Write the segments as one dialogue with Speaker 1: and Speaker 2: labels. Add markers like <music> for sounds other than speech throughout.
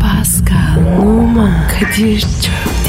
Speaker 1: Pascal, Oman, Kadir çok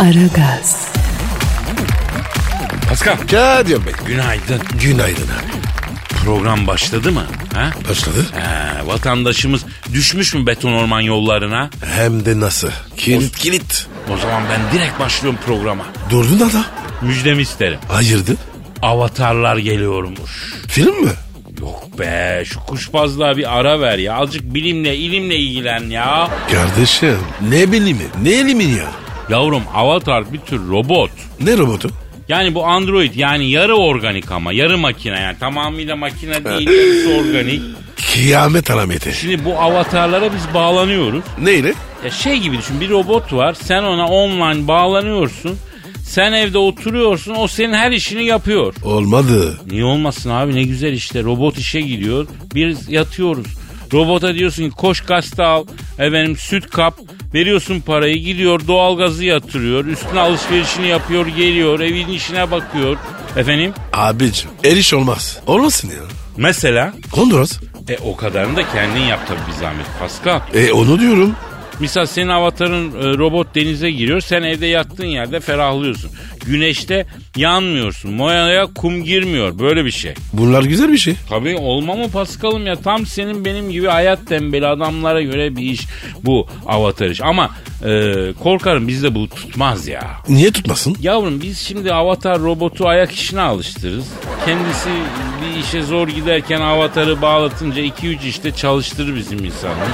Speaker 1: Aragaz,
Speaker 2: Pascal.
Speaker 3: Kadir Bey.
Speaker 2: Günaydın.
Speaker 3: Günaydın abi.
Speaker 2: Program başladı mı? Ha?
Speaker 3: Başladı.
Speaker 2: Ee, vatandaşımız düşmüş mü beton orman yollarına?
Speaker 3: Hem de nasıl? Kilit kilit.
Speaker 2: O zaman ben direkt başlıyorum programa.
Speaker 3: Durdun da da.
Speaker 2: Müjdemi isterim.
Speaker 3: Hayırdır?
Speaker 2: Avatarlar geliyormuş.
Speaker 3: Film mi?
Speaker 2: Yok be şu kuşbazlığa bir ara ver ya. Azıcık bilimle ilimle ilgilen ya.
Speaker 3: Kardeşim. Ne bilimi? Ne elimin ya?
Speaker 2: Yavrum avatar bir tür robot.
Speaker 3: Ne robotu?
Speaker 2: Yani bu android yani yarı organik ama yarı makine yani tamamıyla makine değil yarısı organik.
Speaker 3: Kıyamet alameti.
Speaker 2: Şimdi bu avatarlara biz bağlanıyoruz.
Speaker 3: Neyle?
Speaker 2: Ya şey gibi düşün bir robot var sen ona online bağlanıyorsun. Sen evde oturuyorsun o senin her işini yapıyor.
Speaker 3: Olmadı.
Speaker 2: Niye olmasın abi ne güzel işte robot işe gidiyor. Bir yatıyoruz. Robota diyorsun ki koş gazete al efendim süt kap veriyorsun parayı gidiyor doğalgazı yatırıyor üstüne alışverişini yapıyor geliyor evin işine bakıyor efendim
Speaker 3: Abicim. El iş olmaz. Olmasın ya.
Speaker 2: mesela
Speaker 3: Honduras.
Speaker 2: e o kadarını da kendin yap tabii bir zahmet Pascal
Speaker 3: E onu diyorum.
Speaker 2: Misal senin avatarın e, robot denize giriyor. Sen evde yattığın yerde ferahlıyorsun. Güneşte yanmıyorsun. Moyaya kum girmiyor. Böyle bir şey.
Speaker 3: Bunlar güzel bir şey.
Speaker 2: Tabii olma mı Paskal'ım ya? Tam senin benim gibi hayat tembeli adamlara göre bir iş bu avatar iş. Ama e, korkarım bizde bu tutmaz ya.
Speaker 3: Niye tutmasın?
Speaker 2: Yavrum biz şimdi avatar robotu ayak işine alıştırırız. Kendisi bir işe zor giderken avatarı bağlatınca 2-3 işte çalıştırır bizim insanımız.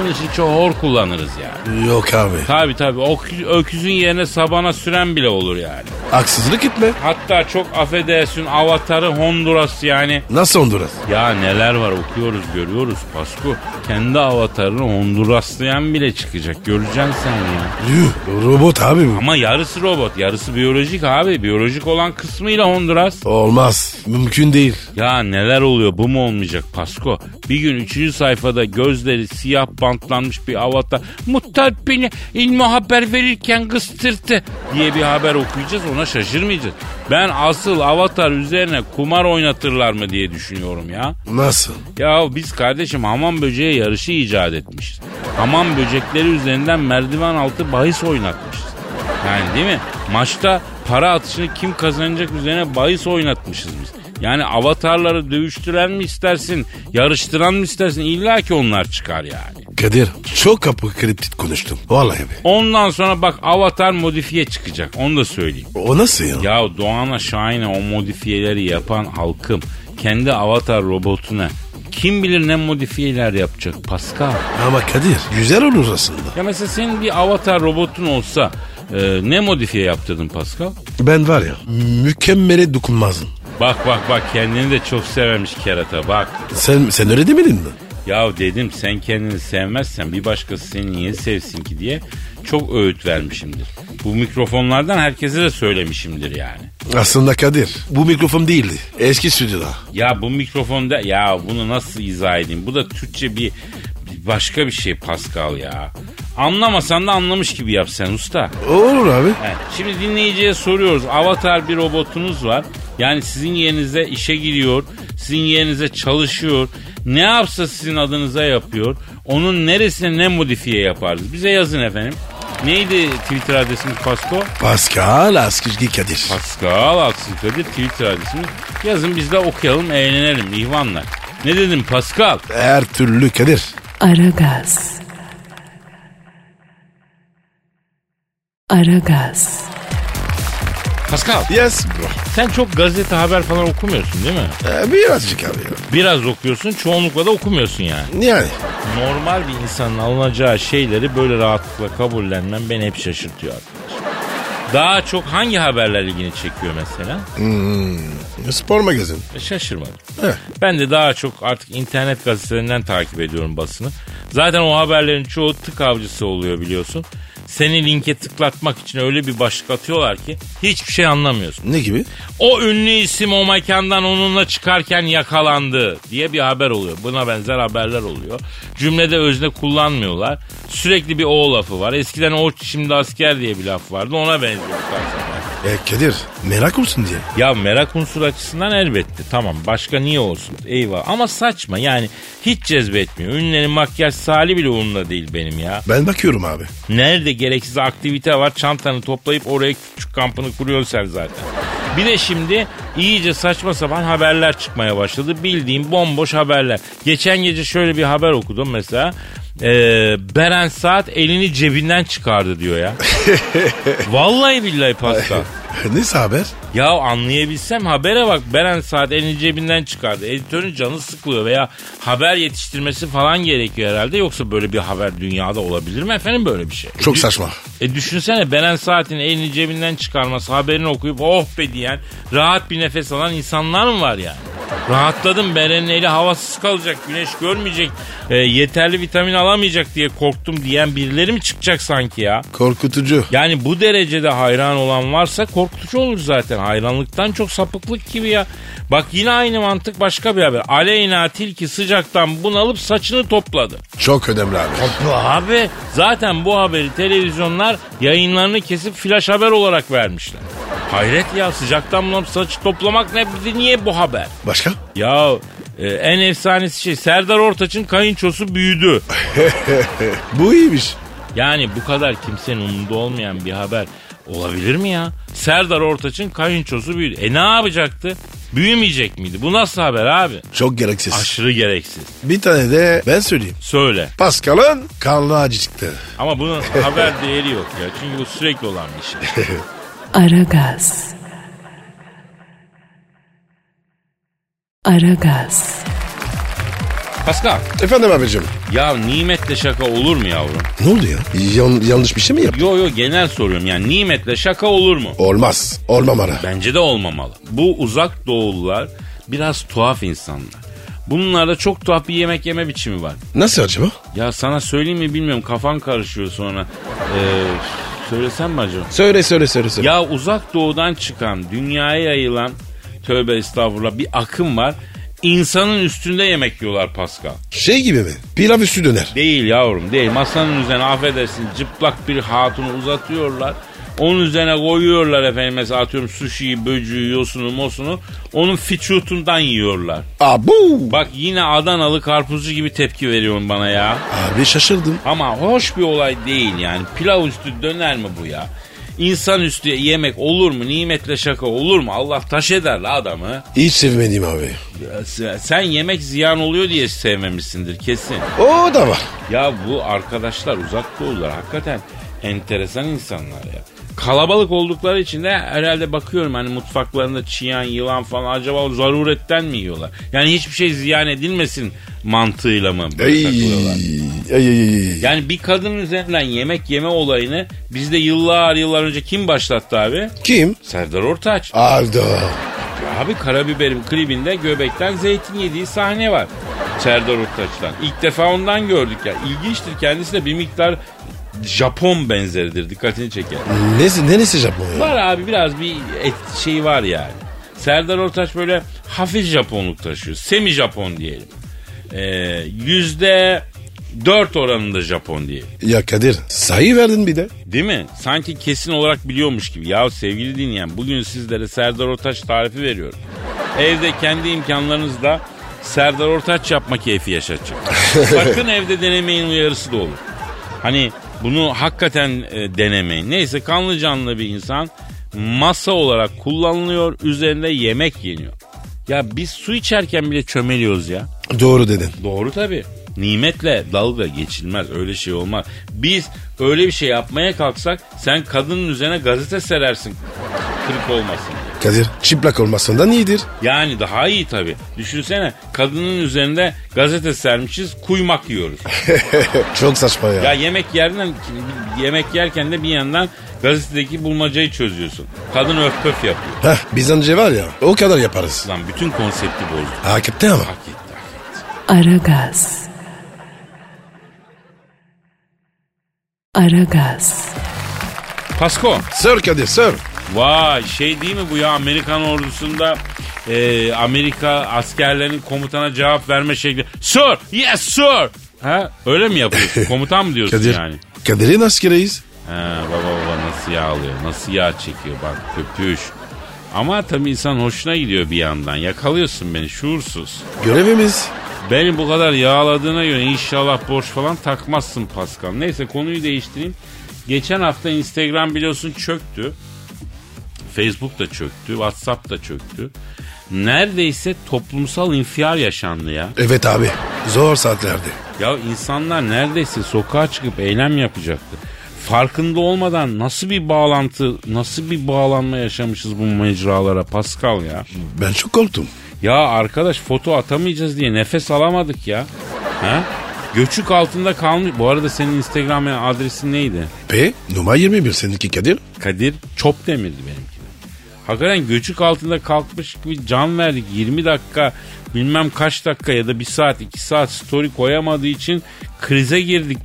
Speaker 2: Onun için çok hor kullanırız yani.
Speaker 3: Yok abi.
Speaker 2: Tabi tabi öküzün yerine sabana süren bile olur yani.
Speaker 3: Haksızlık etme.
Speaker 2: Hatta çok affedersin avatarı Honduras yani.
Speaker 3: Nasıl Honduras?
Speaker 2: Ya neler var okuyoruz görüyoruz Pasku. Kendi avatarını Honduraslayan bile çıkacak göreceksin sen ya.
Speaker 3: Yuh, robot abi bu.
Speaker 2: Ama yarısı robot yarısı biyolojik abi. Biyolojik olan kısmıyla Honduras.
Speaker 3: Olmaz. Mümkün değil.
Speaker 2: Ya neler oluyor bu mu olmayacak Pasko? Bir gün üçüncü sayfada gözleri siyah bantlanmış bir avatar muhtar beni ilmi haber verirken kıstırdı diye bir haber okuyacağız ona şaşırmayacağız. Ben asıl avatar üzerine kumar oynatırlar mı diye düşünüyorum ya.
Speaker 3: Nasıl?
Speaker 2: Ya biz kardeşim hamam böceği yarışı icat etmişiz. Hamam böcekleri üzerinden merdiven altı bahis oynatmışız. Yani değil mi? Maçta para atışını kim kazanacak üzerine bahis oynatmışız biz. Yani avatarları dövüştüren mi istersin, yarıştıran mı istersin İlla ki onlar çıkar yani.
Speaker 3: Kadir çok kapı kriptit konuştum. Vallahi be.
Speaker 2: Ondan sonra bak avatar modifiye çıkacak onu da söyleyeyim.
Speaker 3: O nasıl ya?
Speaker 2: Ya Doğan'a Şahin'e o modifiyeleri yapan halkım kendi avatar robotuna kim bilir ne modifiyeler yapacak Pascal.
Speaker 3: Ama Kadir güzel olur aslında.
Speaker 2: Ya mesela senin bir avatar robotun olsa e, ne modifiye yaptırdın Pascal?
Speaker 3: Ben var ya mükemmele dokunmazdım.
Speaker 2: Bak bak bak kendini de çok severmiş kerata bak.
Speaker 3: Sen, sen öyle demedin mi?
Speaker 2: Ya dedim sen kendini sevmezsen bir başkası seni niye sevsin ki diye çok öğüt vermişimdir. Bu mikrofonlardan herkese de söylemişimdir yani.
Speaker 3: Aslında Kadir bu mikrofon değildi. Eski stüdyoda.
Speaker 2: Ya bu mikrofonda ya bunu nasıl izah edeyim? Bu da Türkçe bir, bir başka bir şey Pascal ya. Anlamasan da anlamış gibi yap sen usta.
Speaker 3: Olur abi.
Speaker 2: He, Şimdi dinleyiciye soruyoruz. Avatar bir robotunuz var. Yani sizin yerinize işe giriyor. Sizin yerinize çalışıyor. Ne yapsa sizin adınıza yapıyor. Onun neresine ne modifiye yaparız? Bize yazın efendim. Neydi Twitter adresimiz Pasko?
Speaker 3: Pascal Askizgi Kadir.
Speaker 2: Pascal Aksikadir Twitter adresimiz. Yazın biz de okuyalım, eğlenelim ihvanlar. Ne dedim Pascal?
Speaker 3: Her türlü Kadir.
Speaker 1: Aragaz. Aragaz,
Speaker 2: Pascal
Speaker 3: Yes bro.
Speaker 2: sen çok gazete haber falan okumuyorsun değil mi?
Speaker 3: Ee, birazcık abi.
Speaker 2: Biraz okuyorsun çoğunlukla da okumuyorsun yani.
Speaker 3: Yani
Speaker 2: normal bir insanın alınacağı şeyleri böyle rahatlıkla kabullenmem beni hep şaşırtıyor arkadaş. Daha çok hangi haberler ilgini çekiyor mesela? E,
Speaker 3: Spor magazin.
Speaker 2: Şaşırmadım.
Speaker 3: Heh.
Speaker 2: Ben de daha çok artık internet gazetelerinden takip ediyorum basını. Zaten o haberlerin çoğu tık avcısı oluyor biliyorsun. Seni linke tıklatmak için öyle bir başlık atıyorlar ki hiçbir şey anlamıyorsun.
Speaker 3: Ne gibi?
Speaker 2: O ünlü isim o mekandan onunla çıkarken yakalandı diye bir haber oluyor. Buna benzer haberler oluyor. Cümlede özne kullanmıyorlar. Sürekli bir o lafı var. Eskiden o şimdi asker diye bir laf vardı ona benziyor.
Speaker 3: E Kadir merak olsun diye.
Speaker 2: Ya merak unsuru açısından elbette tamam başka niye olsun eyvah ama saçma yani hiç cezbetmiyor. Ünlülerin makyaj sali bile umurumda değil benim ya.
Speaker 3: Ben bakıyorum abi. <laughs>
Speaker 2: Nerede gereksiz aktivite var çantanı toplayıp oraya küçük kampını kuruyorsun sen zaten. Bir de şimdi iyice saçma sapan haberler çıkmaya başladı. Bildiğim bomboş haberler. Geçen gece şöyle bir haber okudum mesela. Ee, Beren Saat elini cebinden çıkardı diyor ya. Vallahi billahi pasta.
Speaker 3: Neyse haber?
Speaker 2: Ya anlayabilsem habere bak Beren Saat elini cebinden çıkardı. Editörün canı sıkılıyor veya haber yetiştirmesi falan gerekiyor herhalde. Yoksa böyle bir haber dünyada olabilir mi efendim böyle bir şey?
Speaker 3: Çok
Speaker 2: Dü-
Speaker 3: saçma.
Speaker 2: E düşünsene Beren Saat'in elini cebinden çıkarması haberini okuyup oh be diyen rahat bir nefes alan insanlar mı var yani? Rahatladım Beren'in eli havasız kalacak, güneş görmeyecek, e, yeterli vitamin alamayacak diye korktum diyen birileri mi çıkacak sanki ya?
Speaker 3: Korkutucu.
Speaker 2: Yani bu derecede hayran olan varsa korkutucu olur zaten. Hayranlıktan çok sapıklık gibi ya. Bak yine aynı mantık başka bir haber. Aleyna Tilki sıcaktan bunalıp saçını topladı.
Speaker 3: Çok önemli abi.
Speaker 2: Abi zaten bu haberi televizyonlar yayınlarını kesip flaş haber olarak vermişler. Hayret ya sıcaktan bunalıp saçı toplamak ne bizi niye bu haber?
Speaker 3: Başka?
Speaker 2: Ya e, en efsanesi şey Serdar Ortaç'ın kayınçosu büyüdü.
Speaker 3: Bu iyiymiş.
Speaker 2: Yani bu kadar kimsenin umurunda olmayan bir haber olabilir mi ya? Serdar Ortaç'ın kayınçosu büyüdü. E ne yapacaktı? Büyümeyecek miydi? Bu nasıl haber abi?
Speaker 3: Çok gereksiz.
Speaker 2: Aşırı gereksiz.
Speaker 3: Bir tane de ben söyleyeyim.
Speaker 2: Söyle.
Speaker 3: Pascal'ın karnı acı çıktı.
Speaker 2: Ama bunun haber değeri yok ya. Çünkü bu sürekli olan bir şey.
Speaker 1: Aragaz. Aragaz.
Speaker 2: Pascal.
Speaker 3: Efendim abicim.
Speaker 2: Ya nimetle şaka olur mu yavrum?
Speaker 3: Ne oldu ya? Yan- yanlış bir şey mi yaptın?
Speaker 2: Yo yo genel soruyorum yani nimetle şaka olur mu?
Speaker 3: Olmaz. Olmam ara.
Speaker 2: Bence de olmamalı. Bu uzak doğulular biraz tuhaf insanlar. Bunlarda çok tuhaf bir yemek yeme biçimi var.
Speaker 3: Nasıl acaba?
Speaker 2: Ya sana söyleyeyim mi bilmiyorum kafan karışıyor sonra. Ee, söylesem mi acaba?
Speaker 3: Söyle söyle söyle söyle.
Speaker 2: Ya uzak doğudan çıkan dünyaya yayılan tövbe estağfurullah bir akım var. İnsanın üstünde yemek yiyorlar Pascal.
Speaker 3: Şey gibi mi? Pilav üstü döner.
Speaker 2: Değil yavrum değil. Masanın üzerine affedersin cıplak bir hatunu uzatıyorlar. Onun üzerine koyuyorlar efendim mesela atıyorum suşiyi, böcüğü, yosunu, mosunu. Onun fiçutundan yiyorlar.
Speaker 3: Abu.
Speaker 2: Bak yine Adanalı karpuzcu gibi tepki veriyorsun bana ya.
Speaker 3: Abi şaşırdım.
Speaker 2: Ama hoş bir olay değil yani. Pilav üstü döner mi bu ya? İnsan üstü yemek olur mu? Nimetle şaka olur mu? Allah taş eder la adamı.
Speaker 3: Hiç sevmedim abi.
Speaker 2: Ya se- Sen yemek ziyan oluyor diye sevmemişsindir kesin.
Speaker 3: O da var.
Speaker 2: Ya bu arkadaşlar uzak doğular hakikaten enteresan insanlar ya. Kalabalık oldukları için de herhalde bakıyorum hani mutfaklarında çiyan, yılan falan acaba zaruretten mi yiyorlar? Yani hiçbir şey ziyan edilmesin mantığıyla mı böyle takılıyorlar?
Speaker 3: Ay, ay, ay.
Speaker 2: Yani bir kadının üzerinden yemek yeme olayını bizde yıllar yıllar önce kim başlattı abi?
Speaker 3: Kim?
Speaker 2: Serdar Ortaç.
Speaker 3: Aldo.
Speaker 2: Abi Karabiberim klibinde göbekten zeytin yediği sahne var. Serdar Ortaç'tan. İlk defa ondan gördük ya. İlginçtir kendisi de bir miktar Japon benzeridir dikkatini çeker.
Speaker 3: Nesi, neresi Japon ya?
Speaker 2: Var abi biraz bir et şeyi var yani. Serdar Ortaç böyle hafif Japonluk taşıyor. Semi Japon diyelim. Ee, Yüzde dört oranında Japon diyelim.
Speaker 3: Ya Kadir sayı verdin bir de.
Speaker 2: Değil mi? Sanki kesin olarak biliyormuş gibi. Ya sevgili dinleyen bugün sizlere Serdar Ortaç tarifi veriyorum. Evde kendi imkanlarınızla Serdar Ortaç yapma keyfi yaşatacak. Sakın evde denemeyin uyarısı da olur. Hani bunu hakikaten e, denemeyin. Neyse kanlı canlı bir insan masa olarak kullanılıyor. Üzerinde yemek yeniyor. Ya biz su içerken bile çömeliyoruz ya.
Speaker 3: Doğru dedin.
Speaker 2: Doğru tabii. Nimetle dalga geçilmez öyle şey olmaz. Biz öyle bir şey yapmaya kalksak sen kadının üzerine gazete serersin kırık olmasın. diye.
Speaker 3: Kadir çıplak olmasından iyidir. <laughs>
Speaker 2: Yani daha iyi tabii. Düşünsene kadının üzerinde gazete sermişiz kuymak yiyoruz.
Speaker 3: Çok saçma ya.
Speaker 2: Ya yemek yerden yemek yerken de bir yandan gazetedeki bulmacayı çözüyorsun. Kadın öf pöf yapıyor.
Speaker 3: Heh, biz önce var ya o kadar yaparız.
Speaker 2: Lan bütün konsepti bozdu.
Speaker 3: Hak etti ama.
Speaker 2: Hak etti.
Speaker 1: Aragaz. Aragaz.
Speaker 2: Pasko.
Speaker 3: Sir Kadir sir.
Speaker 2: Vay şey değil mi bu ya Amerikan ordusunda e, Amerika askerlerinin komutana cevap verme şekli. Sir yes sir. Ha, öyle mi yapıyorsun? Komutan mı diyorsun
Speaker 3: Kadir.
Speaker 2: yani?
Speaker 3: Kadir'in askeriyiz.
Speaker 2: Ha, baba baba nasıl yağ alıyor? Nasıl yağ çekiyor bak köpüş. Ama tabii insan hoşuna gidiyor bir yandan. Yakalıyorsun beni şuursuz.
Speaker 3: Görevimiz.
Speaker 2: Beni bu kadar yağladığına göre inşallah borç falan takmazsın Pascal. Neyse konuyu değiştireyim. Geçen hafta Instagram biliyorsun çöktü. Facebook da çöktü. WhatsApp da çöktü. Neredeyse toplumsal infial yaşandı ya.
Speaker 3: Evet abi. Zor saatlerde.
Speaker 2: Ya insanlar neredeyse sokağa çıkıp eylem yapacaktı. Farkında olmadan nasıl bir bağlantı, nasıl bir bağlanma yaşamışız bu mecralara Pascal ya.
Speaker 3: Ben çok korktum.
Speaker 2: Ya arkadaş foto atamayacağız diye nefes alamadık ya. Ha? Göçük altında kalmış. Bu arada senin Instagram adresin neydi?
Speaker 3: P numara 21 seninki Kadir.
Speaker 2: Kadir Çopdemir'di benimki. de. Hakikaten göçük altında kalkmış gibi can verdik. 20 dakika bilmem kaç dakika ya da 1 saat 2 saat story koyamadığı için krize girdik.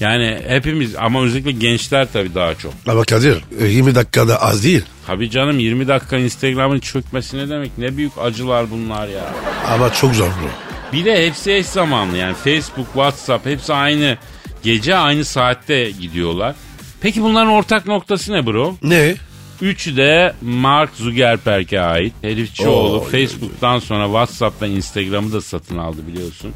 Speaker 2: Yani hepimiz ama özellikle gençler tabii daha çok.
Speaker 3: Ama Kadir e, 20 dakikada az değil.
Speaker 2: Tabii canım 20 dakika Instagram'ın çökmesi ne demek? Ne büyük acılar bunlar ya.
Speaker 3: Ama çok zor bu.
Speaker 2: Bir de hepsi eş zamanlı yani Facebook, WhatsApp hepsi aynı gece aynı saatte gidiyorlar. Peki bunların ortak noktası ne bro?
Speaker 3: Ne?
Speaker 2: Üçü de Mark Zuckerberg'e ait. Herifçioğlu
Speaker 3: Oo,
Speaker 2: Facebook'tan sonra WhatsApp'tan Instagram'ı da satın aldı biliyorsun.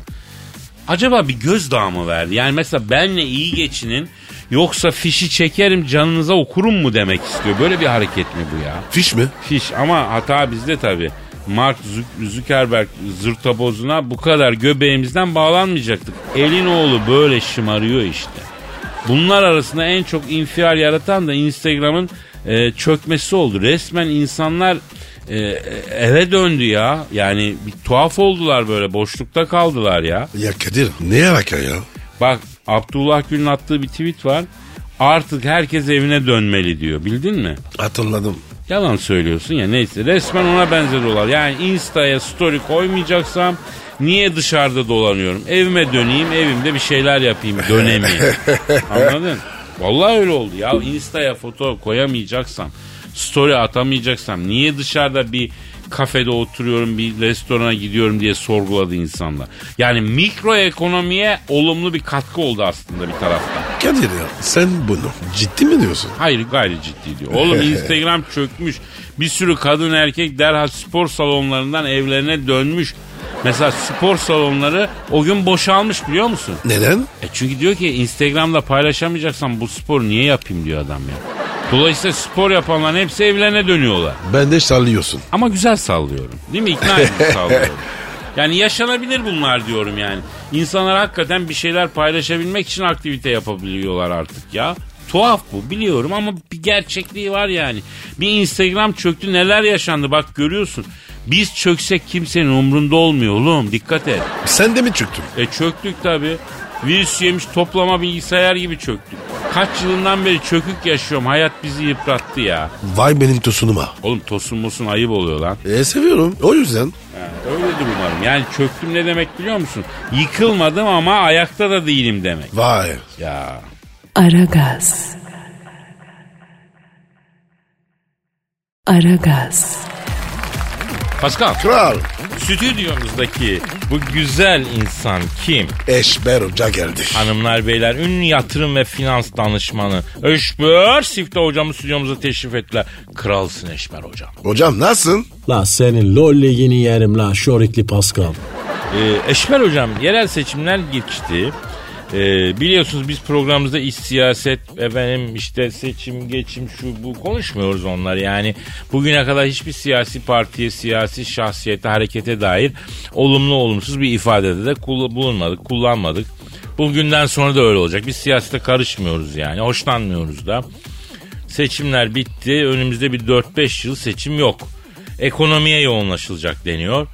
Speaker 2: Acaba bir gözdağı mı verdi? Yani mesela benle iyi geçinin yoksa fişi çekerim canınıza okurum mu demek istiyor. Böyle bir hareket mi bu ya?
Speaker 3: Fiş mi?
Speaker 2: Fiş ama hata bizde tabi. Mark Zu- Zuckerberg zırtabozuna bu kadar göbeğimizden bağlanmayacaktık. Elin oğlu böyle şımarıyor işte. Bunlar arasında en çok infial yaratan da Instagram'ın e, çökmesi oldu. Resmen insanlar e, eve döndü ya. Yani bir tuhaf oldular böyle boşlukta kaldılar ya.
Speaker 3: Ya Kadir ne alaka ya?
Speaker 2: Bak Abdullah Gül'ün attığı bir tweet var. Artık herkes evine dönmeli diyor. Bildin mi?
Speaker 3: Hatırladım.
Speaker 2: Yalan söylüyorsun ya neyse resmen ona benzediyorlar. Yani Insta'ya story koymayacaksam niye dışarıda dolanıyorum? Evime döneyim evimde bir şeyler yapayım dönemi. Anladın? Vallahi öyle oldu ya Insta'ya foto koyamayacaksam story atamayacaksam niye dışarıda bir kafede oturuyorum bir restorana gidiyorum diye sorguladı insanlar. Yani mikro ekonomiye olumlu bir katkı oldu aslında bir taraftan.
Speaker 3: Kadir ya sen bunu ciddi mi diyorsun?
Speaker 2: Hayır gayri ciddi diyor. Oğlum Instagram çökmüş. Bir sürü kadın erkek derhal spor salonlarından evlerine dönmüş. Mesela spor salonları o gün boşalmış biliyor musun?
Speaker 3: Neden?
Speaker 2: E çünkü diyor ki Instagram'da paylaşamayacaksan bu sporu niye yapayım diyor adam ya. Dolayısıyla spor yapanların hepsi evlerine dönüyorlar.
Speaker 3: Ben de sallıyorsun.
Speaker 2: Ama güzel sallıyorum. Değil mi? İkna edici sallıyorum. Yani yaşanabilir bunlar diyorum yani. İnsanlar hakikaten bir şeyler paylaşabilmek için aktivite yapabiliyorlar artık ya. Tuhaf bu biliyorum ama bir gerçekliği var yani. Bir Instagram çöktü neler yaşandı bak görüyorsun. Biz çöksek kimsenin umrunda olmuyor oğlum dikkat et.
Speaker 3: Sen de mi çöktün?
Speaker 2: E çöktük tabi. Virüs yemiş toplama bilgisayar gibi çöktük. Kaç yılından beri çökük yaşıyorum hayat bizi yıprattı ya.
Speaker 3: Vay benim tosunuma.
Speaker 2: Oğlum tosun musun ayıp oluyor lan.
Speaker 3: E seviyorum. O yüzden.
Speaker 2: Ha, Öyledir umarım. Yani çöktüm ne demek biliyor musun? Yıkılmadım ama ayakta da değilim demek.
Speaker 3: Vay.
Speaker 2: Ya
Speaker 1: Aragaz. Aragaz.
Speaker 2: Pascal,
Speaker 3: Kral.
Speaker 2: stüdyomuzdaki bu güzel insan kim?
Speaker 3: Eşber Hoca geldi.
Speaker 2: Hanımlar beyler ünlü yatırım ve finans danışmanı Eşber Sifte hocamı stüdyomuza teşrif ettiler. Kralsın Eşber hocam.
Speaker 3: Hocam nasılsın?
Speaker 4: La senin lollegini yerim la şorikli Pascal.
Speaker 2: Ee, Eşber hocam yerel seçimler geçti. Ee, biliyorsunuz biz programımızda iş siyaset efendim işte seçim geçim şu bu konuşmuyoruz onlar yani bugüne kadar hiçbir siyasi partiye siyasi şahsiyete harekete dair olumlu olumsuz bir ifadede de kul- bulunmadık kullanmadık. Bugünden sonra da öyle olacak biz siyasete karışmıyoruz yani hoşlanmıyoruz da. Seçimler bitti. Önümüzde bir 4-5 yıl seçim yok. ekonomiye yoğunlaşılacak deniyor.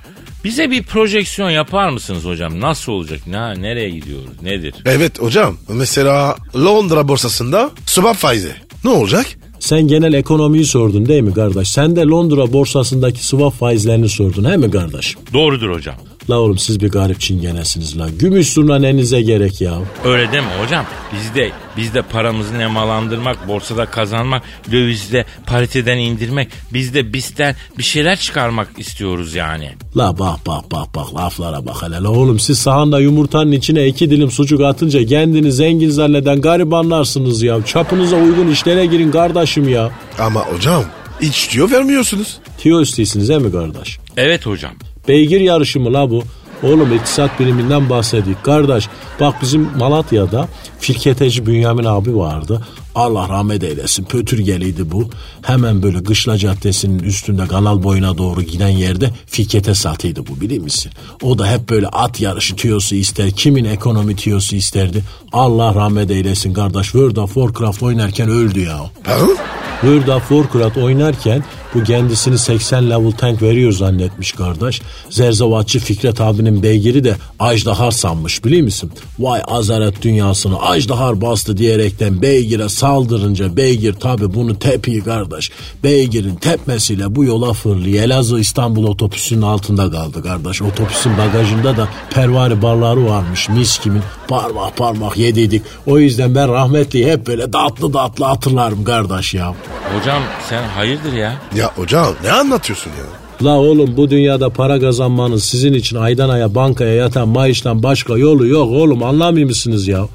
Speaker 2: Bize bir projeksiyon yapar mısınız hocam? Nasıl olacak? Ne, nereye gidiyoruz? Nedir?
Speaker 3: Evet hocam. Mesela Londra borsasında swap faizi. Ne olacak?
Speaker 4: Sen genel ekonomiyi sordun değil mi kardeş? Sen de Londra borsasındaki swap faizlerini sordun he mi kardeş?
Speaker 2: Doğrudur hocam.
Speaker 4: La oğlum siz bir garip çingenesiniz la. Gümüş zurna nenize gerek ya.
Speaker 2: Öyle deme hocam. Bizde bizde paramızı nemalandırmak, borsada kazanmak, dövizde pariteden indirmek, bizde bizden bir şeyler çıkarmak istiyoruz yani.
Speaker 4: La bak bak bak bak laflara bak hele. La oğlum siz sahanda yumurtanın içine iki dilim sucuk atınca kendini zengin zanneden garibanlarsınız ya. Çapınıza uygun işlere girin kardeşim ya.
Speaker 3: Ama hocam hiç diyor vermiyorsunuz.
Speaker 4: Tiyo istiyorsunuz he mi kardeş?
Speaker 2: Evet hocam.
Speaker 4: Beygir yarışı mı la bu? Oğlum iktisat biliminden bahsediyor. Kardeş bak bizim Malatya'da firketeci Bünyamin abi vardı. Allah rahmet eylesin pötürgeliydi bu. Hemen böyle Kışla Caddesi'nin üstünde kanal boyuna doğru giden yerde firkete satıydı bu biliyor musun? O da hep böyle at yarışı tüyosu ister. Kimin ekonomi tüyosu isterdi. Allah rahmet eylesin kardeş. World of Warcraft oynarken öldü ya.
Speaker 3: Pardon?
Speaker 4: World of Warcraft oynarken bu kendisini 80 level tank veriyor zannetmiş kardeş. Zerzavatçı Fikret abinin beygiri de Ajdahar sanmış biliyor musun? Vay azaret dünyasını Ajdahar bastı diyerekten beygire saldırınca beygir tabi bunu tepiyor kardeş. Beygirin tepmesiyle bu yola fırlıyor. Elazığ İstanbul otobüsünün altında kaldı kardeş. Otobüsün bagajında da pervari barları varmış mis kimin. Parmak parmak yediydik. O yüzden ben rahmetli hep böyle datlı datlı hatırlarım kardeş ya.
Speaker 2: Hocam sen hayırdır ya?
Speaker 3: Ya hocam ne anlatıyorsun ya?
Speaker 4: La oğlum bu dünyada para kazanmanın sizin için aydan aya bankaya yatan maaştan başka yolu yok oğlum anlamıyor musunuz ya?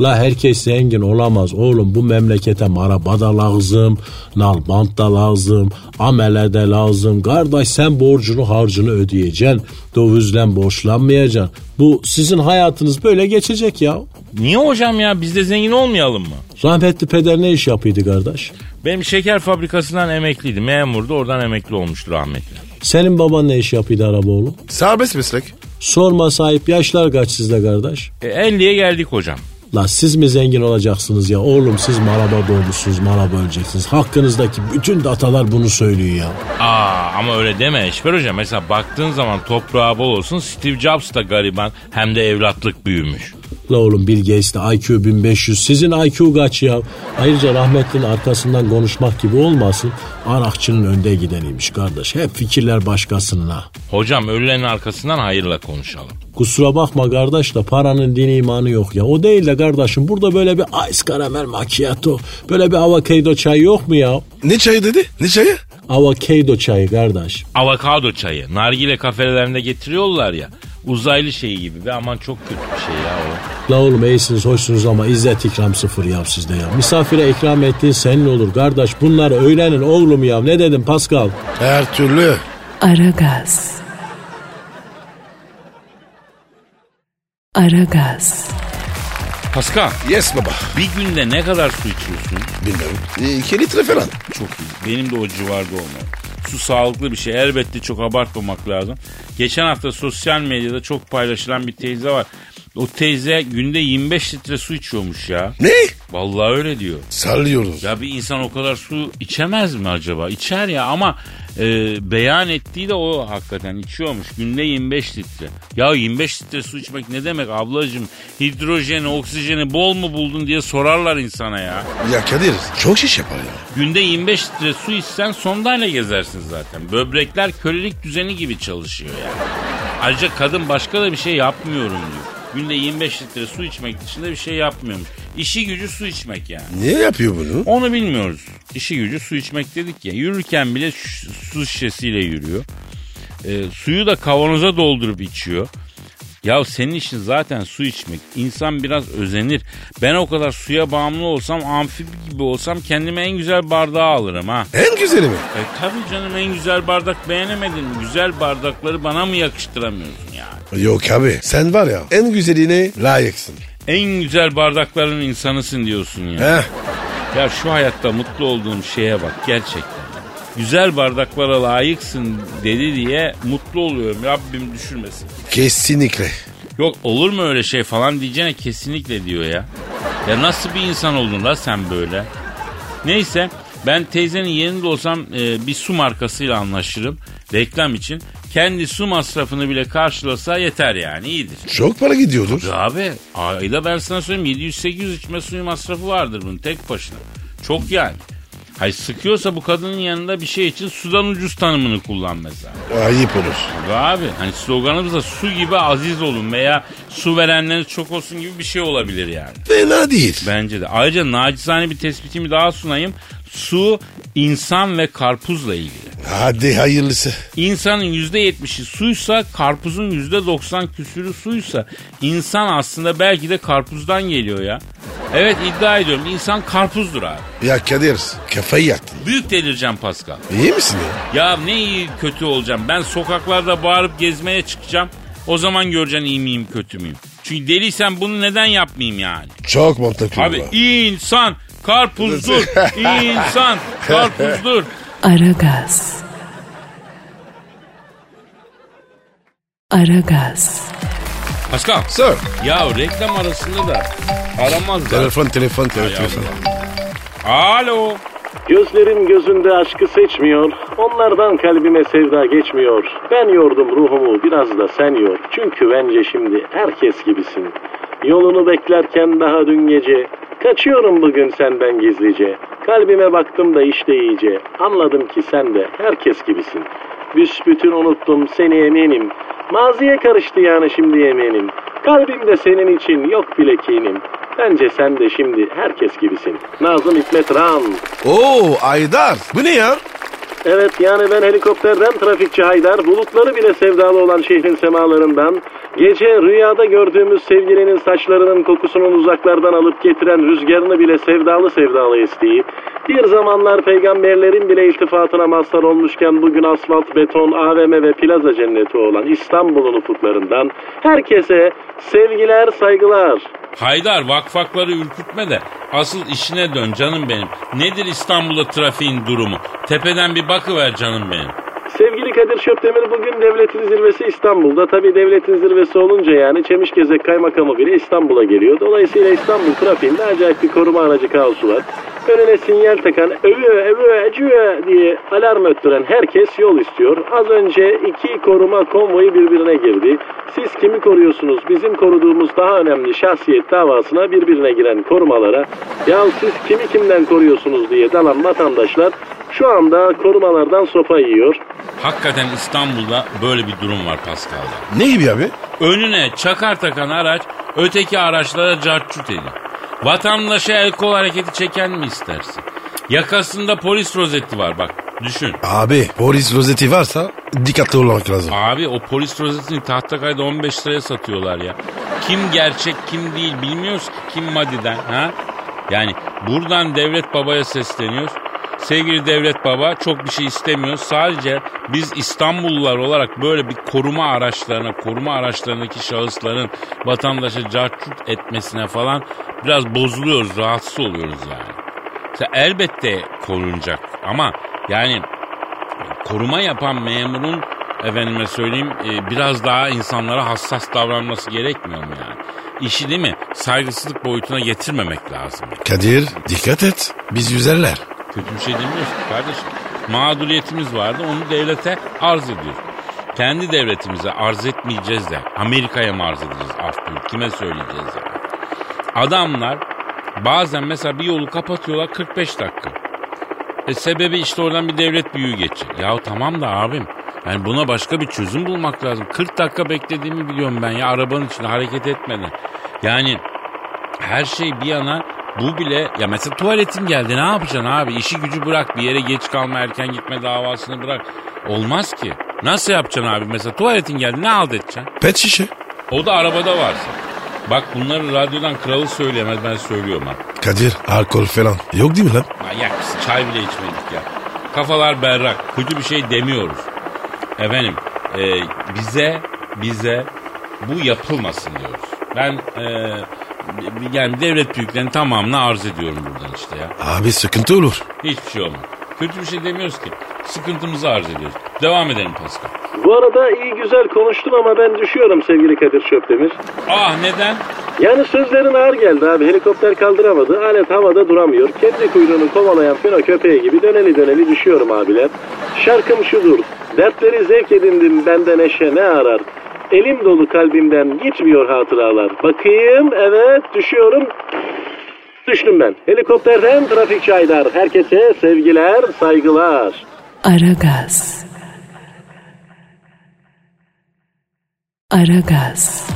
Speaker 4: La herkes zengin olamaz oğlum bu memlekete maraba da lazım, nalbant da lazım, amele de lazım. Kardeş sen borcunu harcını ödeyeceksin, dövizden borçlanmayacaksın. Bu sizin hayatınız böyle geçecek ya.
Speaker 2: Niye hocam ya? Biz de zengin olmayalım mı?
Speaker 4: Rahmetli peder ne iş yapıyordu kardeş?
Speaker 2: Benim şeker fabrikasından emekliydi. Memurdu oradan emekli olmuştu rahmetli.
Speaker 4: Senin baban ne iş yapıyordu araba oğlum?
Speaker 3: Serbest meslek.
Speaker 4: Sorma sahip yaşlar kaç sizde kardeş?
Speaker 2: E, 50'ye geldik hocam.
Speaker 4: La siz mi zengin olacaksınız ya? Oğlum siz maraba doğmuşsunuz, maraba öleceksiniz. Hakkınızdaki bütün datalar bunu söylüyor ya.
Speaker 2: Aa ama öyle deme Eşber hocam. Mesela baktığın zaman toprağı bol olsun Steve Jobs da gariban hem de evlatlık büyümüş.
Speaker 4: La oğlum Bill Gates de IQ 1500. Sizin IQ kaç ya? Ayrıca rahmetlinin arkasından konuşmak gibi olmasın. Arakçının önde gideniymiş kardeş. Hep fikirler başkasının ha.
Speaker 2: Hocam ölülerin arkasından hayırla konuşalım.
Speaker 4: Kusura bakma kardeş de paranın dini imanı yok ya. O değil de kardeşim burada böyle bir ice caramel macchiato, böyle bir avokado çayı yok mu ya?
Speaker 3: Ne çayı dedi? Ne çayı?
Speaker 4: Avokado çayı kardeş.
Speaker 2: Avokado çayı. Nargile kafelerinde getiriyorlar ya. Uzaylı şeyi gibi ve aman çok kötü bir şey ya o.
Speaker 4: La oğlum iyisiniz hoşsunuz ama izzet ikram sıfır ya sizde ya. Misafire ikram ettiğin senin olur kardeş. Bunları öğrenin oğlum ya. Ne dedim Pascal?
Speaker 3: Her türlü.
Speaker 1: Aragaz. Aragaz.
Speaker 2: Pascal
Speaker 3: Yes baba.
Speaker 2: bir günde ne kadar su içiyorsun?
Speaker 3: Bilmem. 2 litre falan.
Speaker 2: Çok iyi. Benim de o civarda olmalı. Su sağlıklı bir şey. Elbette çok abartmamak lazım. Geçen hafta sosyal medyada çok paylaşılan bir teyze var. O teyze günde 25 litre su içiyormuş ya.
Speaker 3: Ne?
Speaker 2: Vallahi öyle diyor.
Speaker 3: Sallıyoruz.
Speaker 2: Ya bir insan o kadar su içemez mi acaba? İçer ya ama e, beyan ettiği de o hakikaten içiyormuş. Günde 25 litre. Ya 25 litre su içmek ne demek ablacığım? Hidrojeni, oksijeni bol mu buldun diye sorarlar insana ya.
Speaker 3: Ya Kadir çok şiş yapar ya.
Speaker 2: Günde 25 litre su içsen sondayla gezersin zaten. Böbrekler kölelik düzeni gibi çalışıyor yani. Ayrıca kadın başka da bir şey yapmıyorum diyor. Günde 25 litre su içmek dışında bir şey yapmıyormuş. İşi gücü su içmek yani.
Speaker 3: Niye yapıyor bunu?
Speaker 2: Onu bilmiyoruz. İşi gücü su içmek dedik ya. Yürürken bile ş- su şişesiyle yürüyor. Ee, suyu da kavanoza doldurup içiyor. Ya senin işin zaten su içmek. İnsan biraz özenir. Ben o kadar suya bağımlı olsam, amfibi gibi olsam kendime en güzel bardağı alırım ha.
Speaker 3: En güzeli mi?
Speaker 2: E tabii canım en güzel bardak beğenemedin mi? Güzel bardakları bana mı yakıştıramıyorsun yani?
Speaker 3: Yok abi. Sen var ya en güzeline layıksın.
Speaker 2: En güzel bardakların insanısın diyorsun ya.
Speaker 3: Heh.
Speaker 2: Ya şu hayatta mutlu olduğum şeye bak gerçekten. Güzel bardaklara layıksın dedi diye mutlu oluyorum. Rabbim düşürmesin.
Speaker 3: Kesinlikle.
Speaker 2: Yok olur mu öyle şey falan diyeceğine kesinlikle diyor ya. Ya nasıl bir insan oldun la sen böyle? Neyse ben teyzenin yerinde olsam e, bir su markasıyla anlaşırım. reklam için kendi su masrafını bile karşılasa yeter yani iyidir.
Speaker 3: Çok para gidiyordur.
Speaker 2: Ya Abi ayda ben sana söyleyeyim 700-800 içme suyu masrafı vardır bunun tek başına. Çok yani. Hay sıkıyorsa bu kadının yanında bir şey için sudan ucuz tanımını kullan mesela.
Speaker 3: Ayıp olur.
Speaker 2: Tabii abi hani sloganımız da su gibi aziz olun veya su verenleriniz çok olsun gibi bir şey olabilir yani.
Speaker 3: Fena değil.
Speaker 2: Bence de. Ayrıca nacizane bir tespitimi daha sunayım. Su insan ve karpuzla ilgili.
Speaker 3: Hadi hayırlısı.
Speaker 2: İnsanın %70'i suysa karpuzun %90 küsürü suysa insan aslında belki de karpuzdan geliyor ya. Evet iddia ediyorum insan karpuzdur abi.
Speaker 3: Ya Kadir kafayı yaktın.
Speaker 2: Büyük delireceğim Pascal.
Speaker 3: İyi misin ya?
Speaker 2: Ya ne iyi kötü olacağım. Ben sokaklarda bağırıp gezmeye çıkacağım. O zaman göreceksin iyi miyim kötü müyüm. Çünkü deliysen bunu neden yapmayayım yani.
Speaker 3: Çok mantıklı.
Speaker 2: Abi
Speaker 3: bu.
Speaker 2: insan karpuzdur. İnsan karpuzdur.
Speaker 1: Aragaz. Aragaz.
Speaker 2: Pascal.
Speaker 3: Sir.
Speaker 2: Ya reklam arasında da aramazlar.
Speaker 3: Telefon telefon telefon.
Speaker 2: Alo.
Speaker 4: Gözlerim gözünde aşkı seçmiyor, onlardan kalbime sevda geçmiyor. Ben yordum ruhumu biraz da sen yor. Çünkü bence şimdi herkes gibisin. Yolunu beklerken daha dün gece, kaçıyorum bugün senden gizlice. Kalbime baktım da işte iyice, anladım ki sen de herkes gibisin. Büsbütün unuttum seni eminim, maziye karıştı yani şimdi eminim. Kalbimde senin için yok bile kinim. Bence sen de şimdi herkes gibisin. Nazım Hikmet Ram.
Speaker 3: Oo Aydar. Bu ne ya?
Speaker 4: Evet yani ben helikopterden trafikçi Haydar, bulutları bile sevdalı olan şehrin semalarından, gece rüyada gördüğümüz sevgilinin saçlarının kokusunun uzaklardan alıp getiren rüzgarını bile sevdalı sevdalı isteyip, bir zamanlar peygamberlerin bile iltifatına mazhar olmuşken bugün asfalt, beton, AVM ve plaza cenneti olan İstanbul'un ufuklarından herkese sevgiler, saygılar.
Speaker 2: Haydar vakfakları ürkütme de asıl işine dön canım benim. Nedir İstanbul'da trafiğin durumu? Tepeden bir bakıver canım benim.
Speaker 4: Sevgili Kadir Şöpdemir bugün devletin zirvesi İstanbul'da. Tabii devletin zirvesi olunca yani Çemişgezek Kaymakamı bile İstanbul'a geliyor. Dolayısıyla İstanbul trafiğinde acayip bir koruma aracı kaosu var. Önüne sinyal takan övü övü acıyor diye alarm öttüren herkes yol istiyor. Az önce iki koruma konvoyu birbirine girdi. Siz kimi koruyorsunuz? Bizim koruduğumuz daha önemli şahsiyet davasına birbirine giren korumalara ya siz kimi kimden koruyorsunuz diye dalan vatandaşlar şu anda korumalardan sopa yiyor.
Speaker 2: Hakikaten İstanbul'da böyle bir durum var Pascal'da.
Speaker 3: Ne gibi abi?
Speaker 2: Önüne çakar takan araç öteki araçlara cartçut ediyor. Vatandaşa el kol hareketi çeken mi istersin? Yakasında polis rozeti var bak düşün.
Speaker 3: Abi polis rozeti varsa dikkatli olmak lazım.
Speaker 2: Abi o polis rozetini Tahtakay'da 15 liraya satıyorlar ya. Kim gerçek kim değil bilmiyoruz ki kim madiden ha. Yani buradan devlet babaya sesleniyoruz. Sevgili devlet baba çok bir şey istemiyoruz. Sadece biz İstanbullular olarak böyle bir koruma araçlarına, koruma araçlarındaki şahısların vatandaşa cartçut etmesine falan biraz bozuluyoruz, rahatsız oluyoruz yani. Mesela elbette korunacak ama yani koruma yapan memurun efendime söyleyeyim e, biraz daha insanlara hassas davranması gerekmiyor mu yani? İşi değil mi? Saygısızlık boyutuna getirmemek lazım.
Speaker 3: Kadir dikkat et. Biz yüzerler.
Speaker 2: Kötü bir şey demiyoruz ki kardeşim. Mağduriyetimiz vardı onu devlete arz ediyoruz. Kendi devletimize arz etmeyeceğiz de Amerika'ya mı arz edeceğiz af buyur kime söyleyeceğiz yani. Adamlar bazen mesela bir yolu kapatıyorlar 45 dakika. E sebebi işte oradan bir devlet büyüğü geçecek. Ya tamam da abim. Yani buna başka bir çözüm bulmak lazım. 40 dakika beklediğimi biliyorum ben ya arabanın içinde hareket etmeden. Yani her şey bir yana bu bile ya mesela tuvaletin geldi ne yapacaksın abi işi gücü bırak bir yere geç kalma erken gitme davasını bırak olmaz ki nasıl yapacaksın abi mesela tuvaletin geldi ne halt edeceksin
Speaker 3: Pet şişe.
Speaker 2: o da arabada varsa bak bunları radyodan kralı söyleyemez ben söylüyorum ha
Speaker 3: Kadir alkol falan yok değil mi lan?
Speaker 2: Manyak biz çay bile içmedik ya. Kafalar berrak. Kötü bir şey demiyoruz. Efendim e, bize bize bu yapılmasın diyoruz. Ben e, yani devlet büyüklerinin tamamını arz ediyorum buradan işte ya.
Speaker 3: Abi sıkıntı olur.
Speaker 2: Hiçbir şey olmaz. Kötü bir şey demiyoruz ki. Sıkıntımızı arz ediyoruz. Devam edelim Pascal.
Speaker 4: Bu arada iyi güzel konuştun ama ben düşüyorum sevgili Kadir Şöpdemir.
Speaker 2: Ah neden?
Speaker 5: Yani sözlerin ağır geldi abi. Helikopter kaldıramadı. Alet havada duramıyor. Kendi kuyruğunu kovalayan fino köpeği gibi döneli döneli düşüyorum abiler. Şarkım şudur. Dertleri zevk edindim benden eşe ne arar? Elim dolu kalbimden gitmiyor hatıralar. Bakayım evet düşüyorum. Düştüm ben. Helikopterden trafik çaydar. Herkese sevgiler, saygılar.
Speaker 1: Aragaz. Aragaz.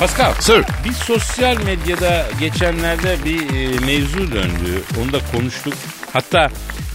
Speaker 2: Pascal.
Speaker 3: Sir.
Speaker 2: Bir sosyal medyada geçenlerde bir e, mevzu döndü. Onu da konuştuk. Hatta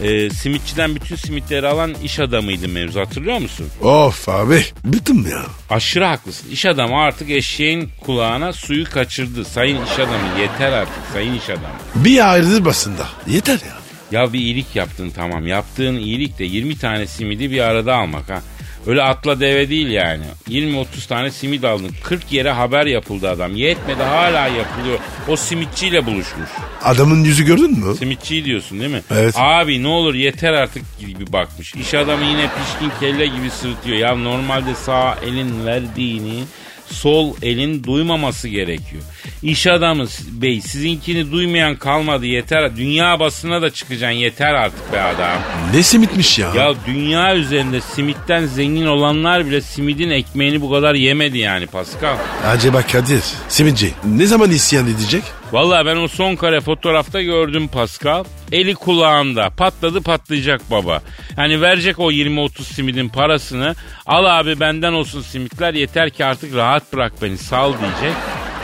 Speaker 2: e, simitçiden bütün simitleri alan iş adamıydı mevzu hatırlıyor musun?
Speaker 3: Of abi. Bittim ya.
Speaker 2: Aşırı haklısın. İş adamı artık eşeğin kulağına suyu kaçırdı. Sayın iş adamı yeter artık sayın iş adamı.
Speaker 3: Bir ayrılır basında. Yeter ya.
Speaker 2: Ya bir iyilik yaptın tamam. Yaptığın iyilik de 20 tane simidi bir arada almak ha. Öyle atla deve değil yani. 20-30 tane simit aldın. 40 yere haber yapıldı adam. Yetmedi hala yapılıyor. O simitçiyle buluşmuş.
Speaker 3: Adamın yüzü gördün mü?
Speaker 2: Simitçi diyorsun değil mi?
Speaker 3: Evet.
Speaker 2: Abi ne olur yeter artık gibi bakmış. İş adamı yine pişkin kelle gibi sırıtıyor. Ya normalde sağ elin verdiğini sol elin duymaması gerekiyor. İş adamı s- bey sizinkini duymayan kalmadı yeter. Dünya basına da çıkacaksın yeter artık be adam.
Speaker 3: Ne simitmiş ya?
Speaker 2: Ya dünya üzerinde simitten zengin olanlar bile simidin ekmeğini bu kadar yemedi yani Pascal.
Speaker 3: Acaba Kadir. Simitçi ne zaman isyan edecek?
Speaker 2: Vallahi ben o son kare fotoğrafta gördüm Pascal. Eli kulağında patladı patlayacak baba. Yani verecek o 20-30 simidin parasını. Al abi benden olsun simitler yeter ki artık rahat bırak beni sal diyecek.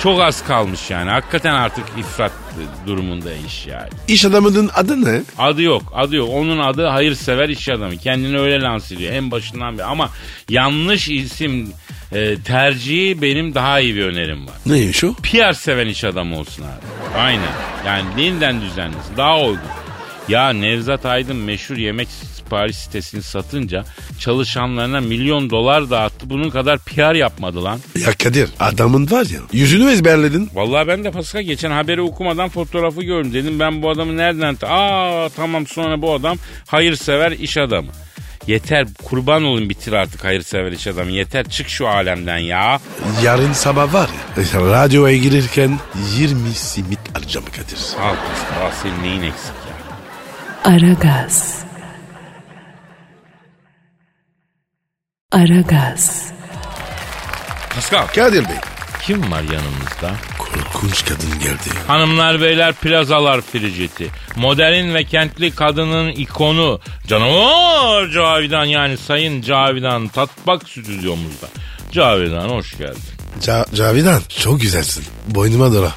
Speaker 2: Çok az kalmış yani. Hakikaten artık ifrat e, durumunda iş yani.
Speaker 3: İş adamının adı ne?
Speaker 2: Adı yok, adı yok. Onun adı hayırsever iş adamı. Kendini öyle lanse ediyor en başından beri. Ama yanlış isim e, tercihi benim daha iyi bir önerim var.
Speaker 3: Neymiş o?
Speaker 2: PR seven iş adamı olsun abi. Aynen. Yani dilinden düzenlisin. Daha uygun. Ya Nevzat Aydın meşhur yemek sipariş sitesini satınca çalışanlarına milyon dolar dağıttı. Bunun kadar PR yapmadı lan.
Speaker 3: Ya Kadir adamın var ya yüzünü ezberledin.
Speaker 2: Vallahi ben de Pascal geçen haberi okumadan fotoğrafı gördüm. Dedim ben bu adamı nereden... ta- Aa tamam sonra bu adam hayırsever iş adamı. Yeter kurban olun bitir artık hayırsever iş adamı. Yeter çık şu alemden ya.
Speaker 3: Yarın sabah var ya <laughs> e, radyoya girirken 20 simit alacağım Kadir.
Speaker 2: Al Pascal al senin neyin eksik ya.
Speaker 1: Aragaz. Aragaz.
Speaker 2: Pascal
Speaker 3: Kadir Bey
Speaker 2: kim var yanımızda?
Speaker 3: korkunç kadın geldi.
Speaker 2: Hanımlar beyler plazalar friciti. Modern ve kentli kadının ikonu. Canavar Cavidan yani Sayın Cavidan Tatbak stüdyomuzda. Cavidan hoş geldin.
Speaker 3: Ca- Cavidan çok güzelsin. Boynuma dola.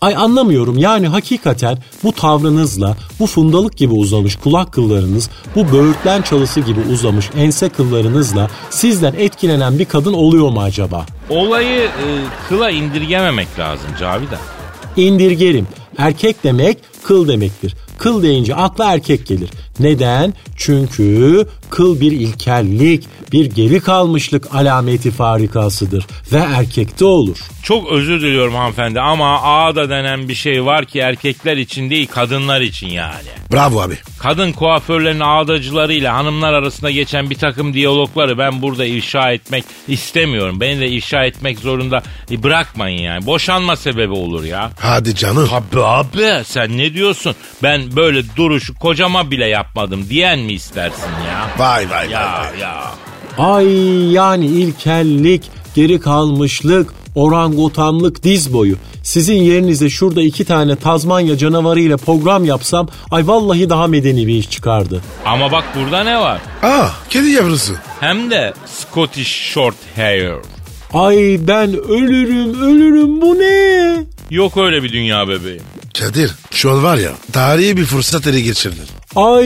Speaker 4: Ay anlamıyorum yani hakikaten bu tavrınızla bu fundalık gibi uzamış kulak kıllarınız bu böğürtlen çalısı gibi uzamış ense kıllarınızla sizden etkilenen bir kadın oluyor mu acaba?
Speaker 2: Olayı e, kıla indirgememek lazım Cavidan.
Speaker 4: İndirgerim. Erkek demek kıl demektir. Kıl deyince akla erkek gelir. Neden? Çünkü kıl bir ilkellik, bir geri kalmışlık alameti farikasıdır ve erkekte olur.
Speaker 2: Çok özür diliyorum hanımefendi ama ağda denen bir şey var ki erkekler için değil kadınlar için yani.
Speaker 3: Bravo abi.
Speaker 2: Kadın kuaförlerin ağdacılarıyla hanımlar arasında geçen bir takım diyalogları ben burada ifşa etmek istemiyorum. Beni de ifşa etmek zorunda e, bırakmayın yani. Boşanma sebebi olur ya.
Speaker 3: Hadi canım.
Speaker 2: Abi abi sen ne diyorsun? Ben böyle duruşu kocama bile yapmadım diyen mi istersin ya?
Speaker 3: Vay vay vay.
Speaker 2: Ya
Speaker 3: vay.
Speaker 2: ya.
Speaker 4: Ay yani ilkellik, geri kalmışlık, orangutanlık, diz boyu. Sizin yerinize şurada iki tane Tazmanya canavarıyla program yapsam ay vallahi daha medeni bir iş çıkardı.
Speaker 2: Ama bak burada ne var?
Speaker 3: Aa kedi yavrusu.
Speaker 2: Hem de Scottish Short Hair.
Speaker 4: Ay ben ölürüm ölürüm bu ne?
Speaker 2: Yok öyle bir dünya bebeğim.
Speaker 3: Kadir şu an var ya tarihi bir fırsat ele geçirdin.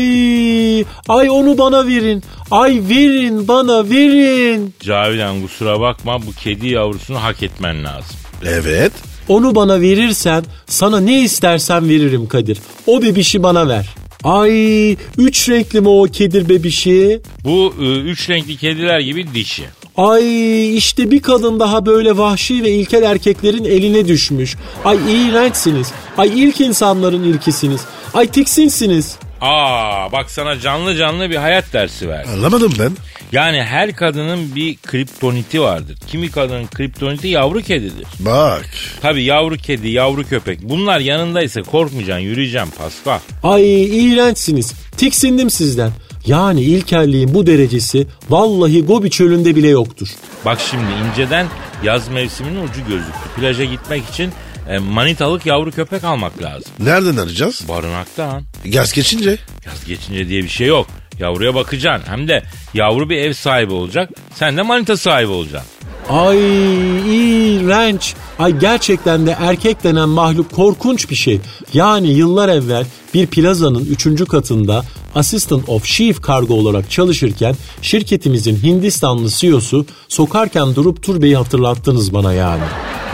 Speaker 4: Ay ay onu bana verin. Ay verin bana verin.
Speaker 2: Cavidan kusura bakma bu kedi yavrusunu hak etmen lazım.
Speaker 3: Evet.
Speaker 4: Onu bana verirsen sana ne istersen veririm Kadir. O bebişi bana ver. Ay üç renkli mi o kedir bebişi?
Speaker 2: Bu e, üç renkli kediler gibi dişi.
Speaker 4: Ay işte bir kadın daha böyle vahşi ve ilkel erkeklerin eline düşmüş. Ay iğrençsiniz. Ay ilk insanların ilkisiniz. Ay tiksinsiniz.
Speaker 2: Aa bak sana canlı canlı bir hayat dersi verdi.
Speaker 3: Anlamadım ben.
Speaker 2: Yani her kadının bir kriptoniti vardır. Kimi kadının kriptoniti yavru kedidir.
Speaker 3: Bak.
Speaker 2: Tabi yavru kedi, yavru köpek. Bunlar yanındaysa korkmayacaksın, yürüyeceksin paspa.
Speaker 4: Ay iğrençsiniz. Tiksindim sizden. Yani ilkelliğin bu derecesi vallahi Gobi çölünde bile yoktur.
Speaker 2: Bak şimdi inceden yaz mevsiminin ucu gözüktü. Plaja gitmek için e, manitalık yavru köpek almak lazım.
Speaker 3: Nereden arayacağız?
Speaker 2: Barınaktan.
Speaker 3: Gaz geçince.
Speaker 2: Yaz geçince diye bir şey yok. Yavruya bakacaksın. Hem de yavru bir ev sahibi olacak. Sen de manita sahibi olacaksın.
Speaker 4: Ay iğrenç. Ay gerçekten de erkek denen mahluk korkunç bir şey. Yani yıllar evvel bir plazanın 3. katında Assistant of Chief Cargo olarak çalışırken şirketimizin Hindistanlı CEO'su sokarken durup turbeyi hatırlattınız bana yani.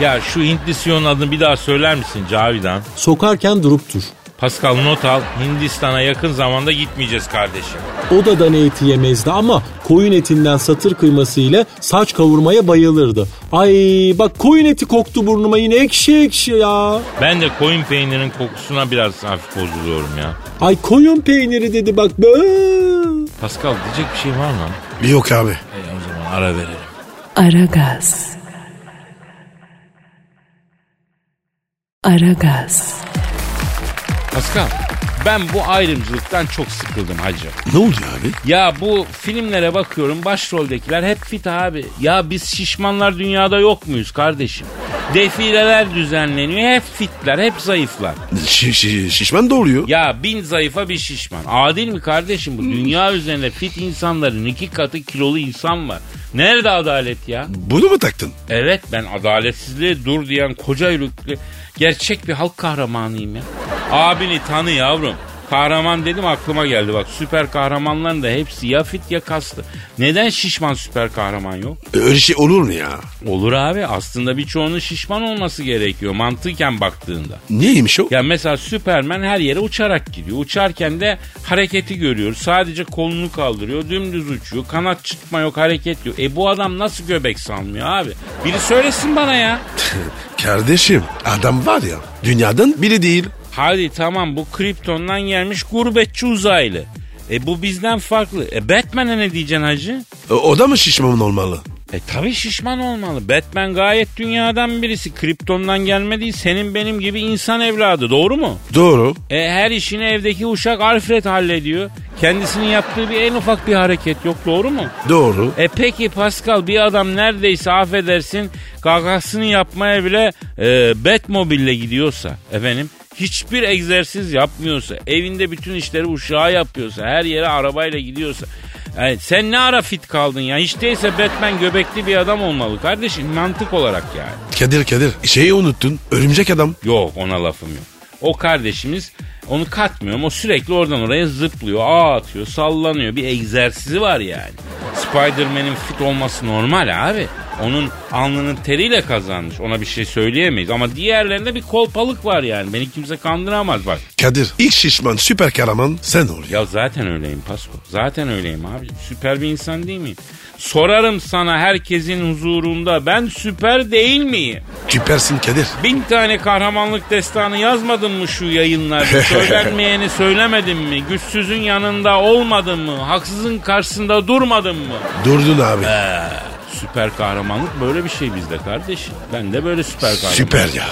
Speaker 2: Ya şu Hintli Siyon'un adını bir daha söyler misin Cavidan?
Speaker 4: Sokarken durup tur.
Speaker 2: Pascal not al. Hindistan'a yakın zamanda gitmeyeceğiz kardeşim.
Speaker 4: O da dana eti yemezdi ama koyun etinden satır kıyması ile saç kavurmaya bayılırdı. Ay bak koyun eti koktu burnuma yine ekşi ekşi ya.
Speaker 2: Ben de koyun peynirinin kokusuna biraz hafif bozuluyorum ya.
Speaker 4: Ay koyun peyniri dedi bak. Bööö.
Speaker 2: Pascal diyecek bir şey var mı?
Speaker 3: Yok abi.
Speaker 2: E, o zaman ara verelim.
Speaker 1: Aragaz. Aragaz.
Speaker 2: Pascal ben bu ayrımcılıktan çok sıkıldım hacı.
Speaker 3: Ne oldu abi?
Speaker 2: Ya bu filmlere bakıyorum başroldekiler hep fit abi. Ya biz şişmanlar dünyada yok muyuz kardeşim? Defileler düzenleniyor hep fitler hep zayıflar.
Speaker 3: Şi- şi- şişman da oluyor.
Speaker 2: Ya bin zayıfa bir şişman. Adil mi kardeşim bu? Dünya üzerinde fit insanların iki katı kilolu insan var. Nerede adalet ya?
Speaker 3: Bunu mu taktın?
Speaker 2: Evet ben adaletsizliğe dur diyen koca yürekli gerçek bir halk kahramanıyım ya. Abini tanı yavrum. Kahraman dedim aklıma geldi bak süper kahramanların da hepsi ya fit ya kaslı. Neden şişman süper kahraman yok?
Speaker 3: Öyle şey olur mu ya?
Speaker 2: Olur abi aslında birçoğunun şişman olması gerekiyor mantıken baktığında.
Speaker 3: Neymiş o?
Speaker 2: Ya mesela Süpermen her yere uçarak gidiyor. Uçarken de hareketi görüyor. Sadece kolunu kaldırıyor. Dümdüz uçuyor. Kanat çıkma yok hareket yok. E bu adam nasıl göbek salmıyor abi? Biri söylesin bana ya.
Speaker 3: Kardeşim adam var ya dünyadan biri değil.
Speaker 2: Hadi tamam bu Krypton'dan gelmiş gurbetçi uzaylı. E bu bizden farklı. E Batman'e ne diyeceksin hacı?
Speaker 3: O, E, o da mı şişman olmalı?
Speaker 2: E tabi şişman olmalı. Batman gayet dünyadan birisi. Krypton'dan gelmediği senin benim gibi insan evladı. Doğru mu?
Speaker 3: Doğru.
Speaker 2: E, her işini evdeki uşak Alfred hallediyor. Kendisinin yaptığı bir en ufak bir hareket yok doğru mu?
Speaker 3: Doğru.
Speaker 2: E peki Pascal bir adam neredeyse affedersin gagasını yapmaya bile e, Batmobile'le gidiyorsa efendim hiçbir egzersiz yapmıyorsa evinde bütün işleri uşağa yapıyorsa her yere arabayla gidiyorsa yani sen ne ara fit kaldın ya hiç değilse Batman göbekli bir adam olmalı kardeşim mantık olarak yani.
Speaker 3: Kadir Kadir şeyi unuttun. Örümcek adam.
Speaker 2: Yok ona lafım yok. O kardeşimiz onu katmıyorum. O sürekli oradan oraya zıplıyor, ağ atıyor, sallanıyor. Bir egzersizi var yani. Spider-Man'in fit olması normal abi. Onun alnının teriyle kazanmış. Ona bir şey söyleyemeyiz. Ama diğerlerinde bir kolpalık var yani. Beni kimse kandıramaz bak.
Speaker 3: Kadir ilk şişman süper kahraman sen ol ya.
Speaker 2: Ya zaten öyleyim Pasko. Zaten öyleyim abi. Süper bir insan değil miyim? Sorarım sana herkesin huzurunda ben süper değil miyim?
Speaker 3: Süpersin Kadir.
Speaker 2: Bin tane kahramanlık destanı yazmadın mı şu yayınlarda? Söylenmeyeni söylemedin mi? Güçsüzün yanında olmadın mı? Haksızın karşısında durmadın mı?
Speaker 3: Durdun abi.
Speaker 2: Süper kahramanlık böyle bir şey bizde kardeşim. Ben de böyle süper kahraman.
Speaker 3: süper ya.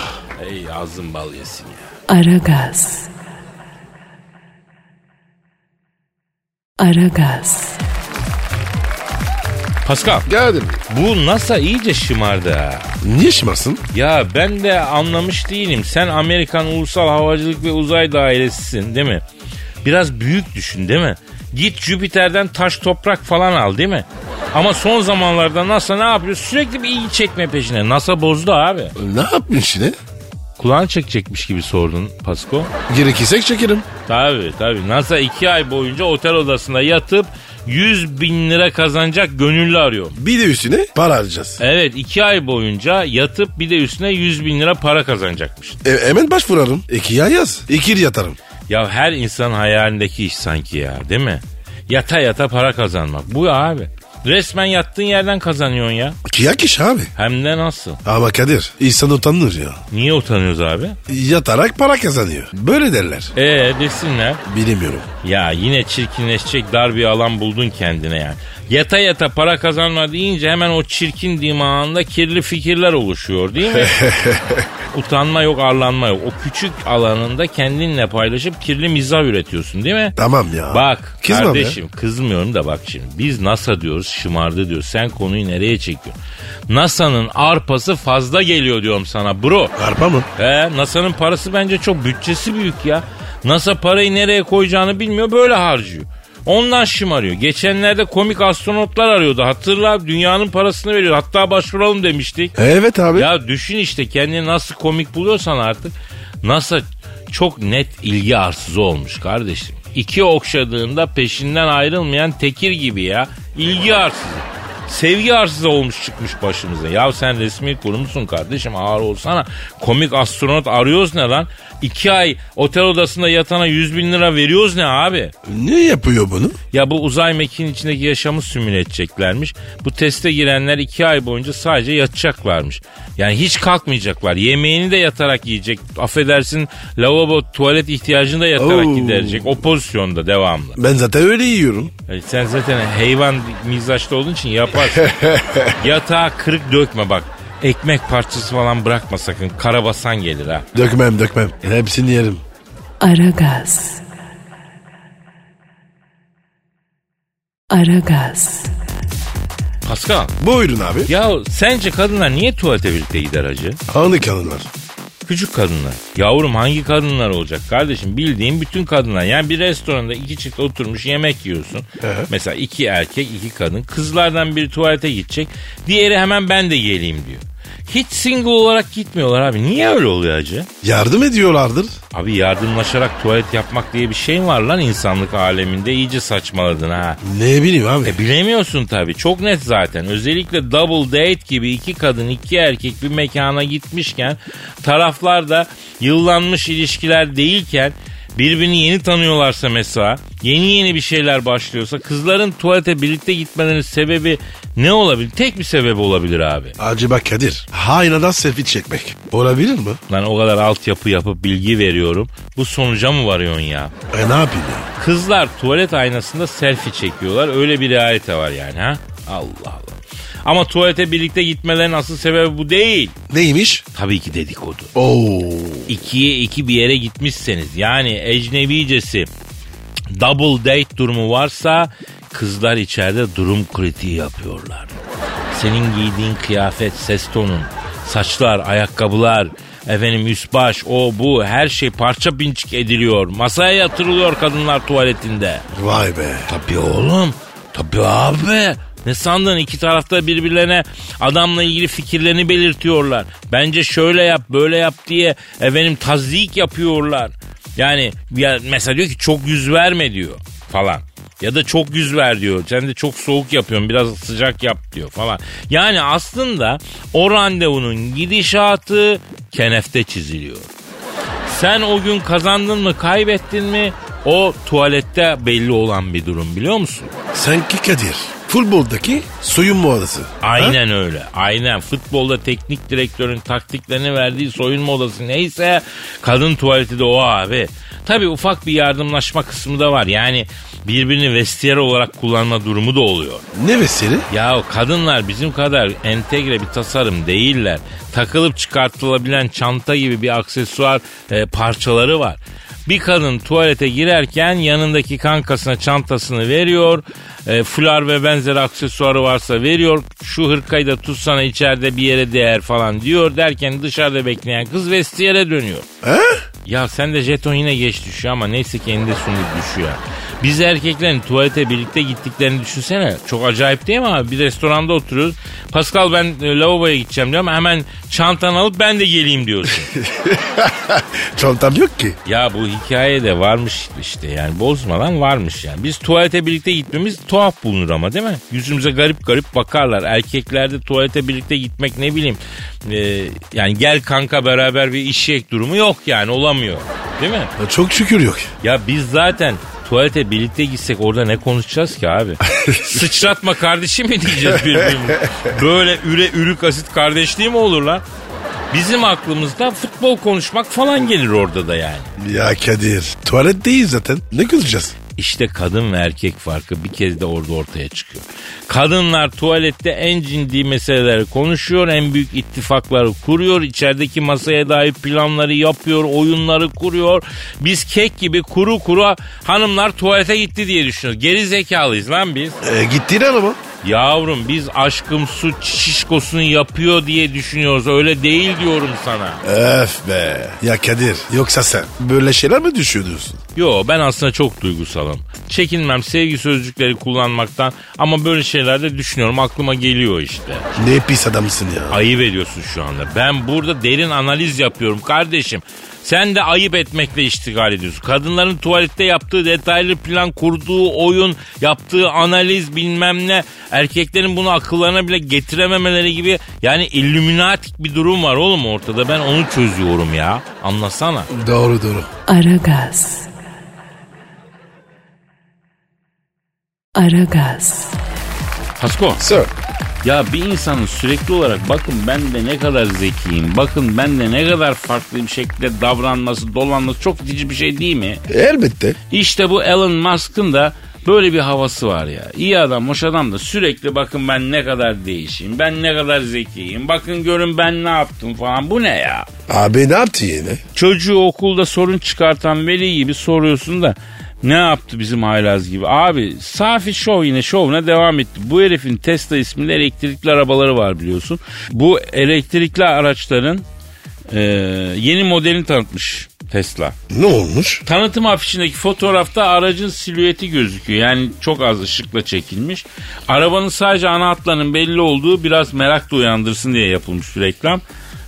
Speaker 2: Ey ağzın bal yesin ya.
Speaker 1: Aragaz. Aragaz.
Speaker 2: Pascal
Speaker 3: Kadir
Speaker 2: bu NASA iyice şımardı ha.
Speaker 3: niye şımarsın?
Speaker 2: Ya ben de anlamış değilim. Sen Amerikan Ulusal Havacılık ve Uzay Dairesi'sin değil mi? Biraz büyük düşün değil mi? Git Jüpiter'den taş toprak falan al değil mi? Ama son zamanlarda NASA ne yapıyor? Sürekli bir ilgi çekme peşine. NASA bozdu abi.
Speaker 3: Ne yapmış yine?
Speaker 2: Kulağını çekecekmiş gibi sordun Pasko.
Speaker 3: Gerekirse çekerim.
Speaker 2: Tabii tabii. NASA iki ay boyunca otel odasında yatıp 100 bin lira kazanacak gönüllü arıyor.
Speaker 3: Bir de üstüne para harcayacağız.
Speaker 2: Evet iki ay boyunca yatıp bir de üstüne 100 bin lira para kazanacakmış.
Speaker 3: E, hemen başvurarım. İkiye yaz. İkir yatarım.
Speaker 2: Ya her insanın hayalindeki iş sanki ya değil mi? Yata yata para kazanmak. Bu ya abi. Resmen yattığın yerden kazanıyorsun ya.
Speaker 3: Kıyak iş abi.
Speaker 2: Hem de nasıl?
Speaker 3: Ama Kadir insan utanır ya.
Speaker 2: Niye utanıyoruz abi?
Speaker 3: Yatarak para kazanıyor. Böyle derler.
Speaker 2: Ee desinler.
Speaker 3: Bilmiyorum.
Speaker 2: Ya yine çirkinleşecek dar bir alan buldun kendine yani. Yata yata para kazanma deyince hemen o çirkin dimağında kirli fikirler oluşuyor değil mi? Utanma yok, arlanma yok. O küçük alanında kendinle paylaşıp kirli mizah üretiyorsun değil mi?
Speaker 3: Tamam ya.
Speaker 2: Bak
Speaker 3: Kızmam ya.
Speaker 2: kardeşim kızmıyorum da bak şimdi. Biz NASA diyoruz şımardı diyor. Sen konuyu nereye çekiyorsun? NASA'nın arpası fazla geliyor diyorum sana bro.
Speaker 3: Arpa mı?
Speaker 2: He NASA'nın parası bence çok bütçesi büyük ya. NASA parayı nereye koyacağını bilmiyor böyle harcıyor. Ondan şımarıyor. Geçenlerde komik astronotlar arıyordu. Hatırla dünyanın parasını veriyor. Hatta başvuralım demiştik.
Speaker 3: Evet abi.
Speaker 2: Ya düşün işte kendini nasıl komik buluyorsan artık. NASA çok net ilgi arsızı olmuş kardeşim. İki okşadığında peşinden ayrılmayan tekir gibi ya. İlgi arsızı. Sevgi arsızı olmuş çıkmış başımıza. Ya sen resmi kurumsun kardeşim ağır olsana. Komik astronot arıyoruz ne lan? İki ay otel odasında yatana 100 bin lira veriyoruz ne abi?
Speaker 3: Ne yapıyor bunu?
Speaker 2: Ya bu uzay mekiğinin içindeki yaşamı simüle edeceklermiş. Bu teste girenler iki ay boyunca sadece yatacaklarmış. Yani hiç kalkmayacaklar. Yemeğini de yatarak yiyecek. Affedersin lavabo tuvalet ihtiyacını da yatarak
Speaker 3: Oo.
Speaker 2: giderecek. O pozisyonda devamlı.
Speaker 3: Ben zaten öyle yiyorum.
Speaker 2: E, sen zaten hayvan mizaçlı olduğun için yaparsın. Yatağa kırık dökme bak. Ekmek parçası falan bırakma sakın. Karabasan gelir ha.
Speaker 3: Dökmem dökmem. Hepsini yerim.
Speaker 1: Aragaz. Aragaz.
Speaker 2: Pascal.
Speaker 3: Buyurun abi.
Speaker 2: Ya sence kadınlar niye tuvalete birlikte gider hacı?
Speaker 3: Anı kalınlar.
Speaker 2: Küçük kadınlar. Yavrum hangi kadınlar olacak kardeşim? Bildiğin bütün kadınlar. Yani bir restoranda iki çift oturmuş yemek yiyorsun. Mesela iki erkek iki kadın. Kızlardan biri tuvalete gidecek. Diğeri hemen ben de geleyim diyor. Hiç single olarak gitmiyorlar abi. Niye öyle oluyor acı?
Speaker 3: Yardım ediyorlardır.
Speaker 2: Abi yardımlaşarak tuvalet yapmak diye bir şey var lan insanlık aleminde. iyice saçmaladın ha.
Speaker 3: Ne bileyim abi.
Speaker 2: E bilemiyorsun tabii. Çok net zaten. Özellikle double date gibi iki kadın iki erkek bir mekana gitmişken taraflar da yıllanmış ilişkiler değilken birbirini yeni tanıyorlarsa mesela yeni yeni bir şeyler başlıyorsa kızların tuvalete birlikte gitmelerinin sebebi ne olabilir? Tek bir sebebi olabilir abi.
Speaker 3: Acaba Kadir. Haynadan selfie çekmek. Olabilir mi?
Speaker 2: Lan o kadar altyapı yapıp bilgi veriyorum. Bu sonuca mı varıyorsun ya?
Speaker 3: E ne yapayım ya?
Speaker 2: Kızlar tuvalet aynasında selfie çekiyorlar. Öyle bir realite var yani ha. Allah Allah. Ama tuvalete birlikte gitmelerin asıl sebebi bu değil.
Speaker 3: Neymiş?
Speaker 2: Tabii ki dedikodu.
Speaker 3: Oo.
Speaker 2: İkiye iki bir yere gitmişseniz yani ecnebicesi double date durumu varsa kızlar içeride durum kritiği yapıyorlar. Senin giydiğin kıyafet, ses tonun, saçlar, ayakkabılar, efendim üst baş, o bu her şey parça pinçik ediliyor. Masaya yatırılıyor kadınlar tuvaletinde.
Speaker 3: Vay be.
Speaker 2: Tabii oğlum. Tabii abi. Ne sandın iki tarafta birbirlerine adamla ilgili fikirlerini belirtiyorlar. Bence şöyle yap böyle yap diye efendim tazdik yapıyorlar. Yani ya mesela diyor ki çok yüz verme diyor falan. Ya da çok yüz ver diyor. Sen de çok soğuk yapıyorsun biraz sıcak yap diyor falan. Yani aslında o randevunun gidişatı kenefte çiziliyor. Sen o gün kazandın mı kaybettin mi o tuvalette belli olan bir durum biliyor musun?
Speaker 3: Sanki Kadir. Futboldaki soyun muadası.
Speaker 2: Aynen öyle. Aynen. Futbolda teknik direktörün taktiklerini verdiği soyunma odası neyse kadın tuvaleti de o abi. Tabii ufak bir yardımlaşma kısmı da var. Yani birbirini vestiyer olarak kullanma durumu da oluyor.
Speaker 3: Ne vesile?
Speaker 2: Ya kadınlar bizim kadar entegre bir tasarım değiller. Takılıp çıkartılabilen çanta gibi bir aksesuar e, parçaları var. Bir kadın tuvalete girerken yanındaki kankasına çantasını veriyor. E, fular ve benzeri aksesuarı varsa veriyor. Şu hırkayı da tutsana içeride bir yere değer falan diyor. Derken dışarıda bekleyen kız vestiyere dönüyor. Ya sen de jeton yine geç düşüyor ama neyse ki eninde sonunda düşüyor. Biz erkeklerin tuvalete birlikte gittiklerini düşünsene. Çok acayip değil mi abi? Bir restoranda oturuyoruz. Pascal ben e, lavaboya gideceğim diyorum. Hemen çantanı alıp ben de geleyim diyorsun.
Speaker 3: Çantam yok ki.
Speaker 2: ya bu hikaye de varmış işte yani bozmadan varmış yani. Biz tuvalete birlikte gitmemiz tuhaf bulunur ama değil mi? Yüzümüze garip garip bakarlar. Erkeklerde tuvalete birlikte gitmek ne bileyim. e, yani gel kanka beraber bir işek durumu yok yani olamıyor. Değil mi?
Speaker 3: Çok şükür yok.
Speaker 2: Ya biz zaten tuvalete birlikte gitsek orada ne konuşacağız ki abi? Sıçratma kardeşim mi diyeceğiz birbirimize? Böyle üre ürük asit kardeşliği mi olur lan? Bizim aklımızda futbol konuşmak falan gelir orada da yani.
Speaker 3: Ya Kadir tuvalet değil zaten. Ne konuşacağız?
Speaker 2: İşte kadın ve erkek farkı bir kez de orada ortaya çıkıyor. Kadınlar tuvalette en ciddi meseleleri konuşuyor, en büyük ittifakları kuruyor, içerideki masaya dair planları yapıyor, oyunları kuruyor. Biz kek gibi kuru kuru hanımlar tuvalete gitti diye düşünüyoruz. Geri zekalıyız lan biz.
Speaker 3: E, gittiler ama.
Speaker 2: Yavrum biz aşkım su şişkosunu yapıyor diye düşünüyoruz. Öyle değil diyorum sana.
Speaker 3: Öf be. Ya Kadir yoksa sen böyle şeyler mi düşünüyorsun?
Speaker 2: Yo ben aslında çok duygusalım. Çekinmem sevgi sözcükleri kullanmaktan ama böyle şeylerde düşünüyorum aklıma geliyor işte.
Speaker 3: Ne pis adamsın ya.
Speaker 2: Ayıp ediyorsun şu anda. Ben burada derin analiz yapıyorum kardeşim. Sen de ayıp etmekle iştigal ediyorsun. Kadınların tuvalette yaptığı detaylı plan, kurduğu oyun, yaptığı analiz bilmem ne. Erkeklerin bunu akıllarına bile getirememeleri gibi yani illüminatik bir durum var oğlum ortada. Ben onu çözüyorum ya. Anlasana.
Speaker 3: Doğru doğru.
Speaker 1: Aragaz. Aragaz.
Speaker 2: Pasko.
Speaker 3: Sir.
Speaker 2: Ya bir insanın sürekli olarak bakın ben de ne kadar zekiyim, bakın ben de ne kadar farklı bir şekilde davranması, dolanması çok itici bir şey değil mi?
Speaker 3: Elbette.
Speaker 2: İşte bu Elon Musk'ın da böyle bir havası var ya. İyi adam, hoş adam da sürekli bakın ben ne kadar değişeyim, ben ne kadar zekiyim, bakın görün ben ne yaptım falan. Bu ne ya?
Speaker 3: Abi ne yaptı yine?
Speaker 2: Çocuğu okulda sorun çıkartan veli gibi soruyorsun da ne yaptı bizim haylaz gibi? Abi Safi Şov yine şovuna devam etti. Bu herifin Tesla isminde elektrikli arabaları var biliyorsun. Bu elektrikli araçların e, yeni modelini tanıtmış Tesla.
Speaker 3: Ne olmuş?
Speaker 2: Tanıtım afişindeki fotoğrafta aracın silüeti gözüküyor. Yani çok az ışıkla çekilmiş. Arabanın sadece ana hatlarının belli olduğu biraz merak da uyandırsın diye yapılmış bir reklam.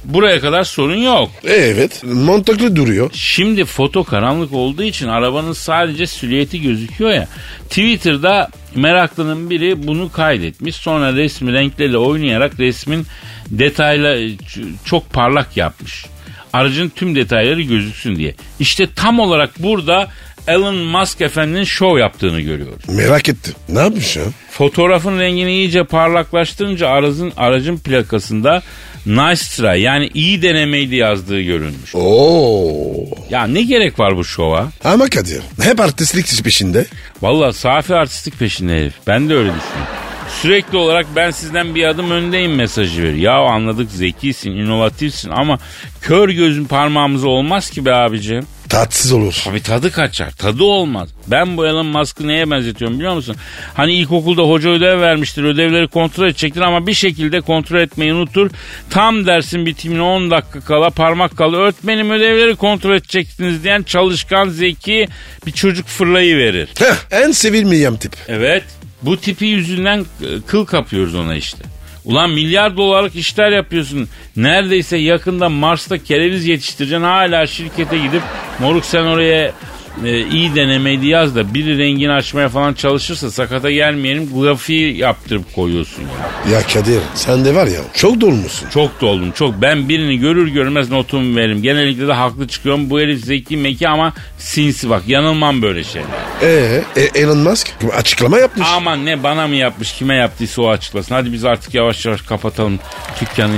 Speaker 2: Buraya kadar sorun yok.
Speaker 3: E, Evet. Mantıklı duruyor.
Speaker 2: Şimdi foto karanlık olduğu için arabanın sadece silüeti gözüküyor ya. Twitter'da meraklının biri bunu kaydetmiş. Sonra resmi renklerle oynayarak resmin detayla e, ç- çok parlak yapmış. Aracın tüm detayları gözüksün diye. İşte tam olarak burada Elon Musk efendinin şov yaptığını görüyoruz.
Speaker 3: Merak ettim. Ne yapmış ya?
Speaker 2: Fotoğrafın rengini iyice parlaklaştırınca aracın, aracın plakasında Nice try yani iyi denemeydi yazdığı görünmüş.
Speaker 3: Oo.
Speaker 2: Ya ne gerek var bu şova?
Speaker 3: Ama Kadir hep artistlik iş peşinde.
Speaker 2: Vallahi safi artistik peşinde herif. Ben de öyle düşünüyorum. Sürekli olarak ben sizden bir adım öndeyim mesajı veriyor. Ya anladık zekisin, inovatifsin ama kör gözün parmağımız olmaz ki be abicim.
Speaker 3: Tatsız olur.
Speaker 2: Tabii tadı kaçar, tadı olmaz. Ben bu Elon Musk'ı neye benzetiyorum biliyor musun? Hani ilkokulda hoca ödev vermiştir, ödevleri kontrol edecektir ama bir şekilde kontrol etmeyi unutur. Tam dersin bitimine 10 dakika kala parmak kala öğretmenim ödevleri kontrol edecektiniz diyen çalışkan, zeki bir çocuk fırlayı verir.
Speaker 3: Heh, en sevilmeyen tip.
Speaker 2: Evet. Bu tipi yüzünden e, kıl kapıyoruz ona işte. Ulan milyar dolarlık işler yapıyorsun. Neredeyse yakında Mars'ta kereviz yetiştireceksin. Hala şirkete gidip moruk sen oraya e, iyi denemeydi yaz da biri rengini açmaya falan çalışırsa sakata gelmeyelim grafiği yaptırıp koyuyorsun ya.
Speaker 3: Ya Kadir sen de var ya çok dolmuşsun.
Speaker 2: Çok doldum çok. Ben birini görür görmez notumu veririm. Genellikle de haklı çıkıyorum. Bu herif zeki meki ama sinsi bak. Yanılmam böyle şey. şeyler.
Speaker 3: Ee, e, Elon Musk açıklama yapmış.
Speaker 2: Aman ne bana mı yapmış kime yaptıysa o açıklasın. Hadi biz artık yavaş yavaş kapatalım dükkanı.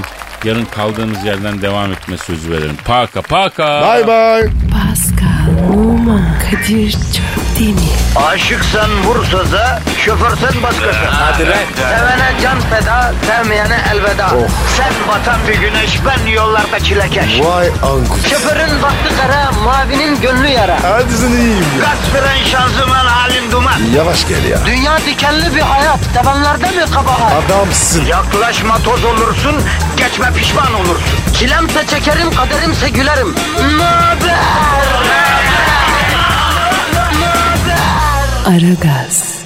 Speaker 2: Yarın kaldığımız yerden devam etme sözü verelim. Paka paka.
Speaker 3: Bye bye.
Speaker 1: Pascal, Oman, Kadir çok değil mi?
Speaker 6: Aşıksan vursa da, şoförsen başkasın. Hadi Sevene can feda, sevmeyene elveda. Sen batan bir güneş, ben yollarda çilekeş.
Speaker 3: Vay anku.
Speaker 6: Şoförün baktı kara, mavinin gönlü yara.
Speaker 3: Hadi sen iyiyim ya.
Speaker 6: Kasperen şanzıman halin duman.
Speaker 3: Yavaş gel ya.
Speaker 6: Dünya dikenli bir hayat, sevenlerde mi kabahar?
Speaker 3: Adamsın.
Speaker 6: Yaklaşma toz olursun, geçme pişman olursun. Çilemse çekerim, kaderimse gülerim. Möber!
Speaker 1: Aragaz.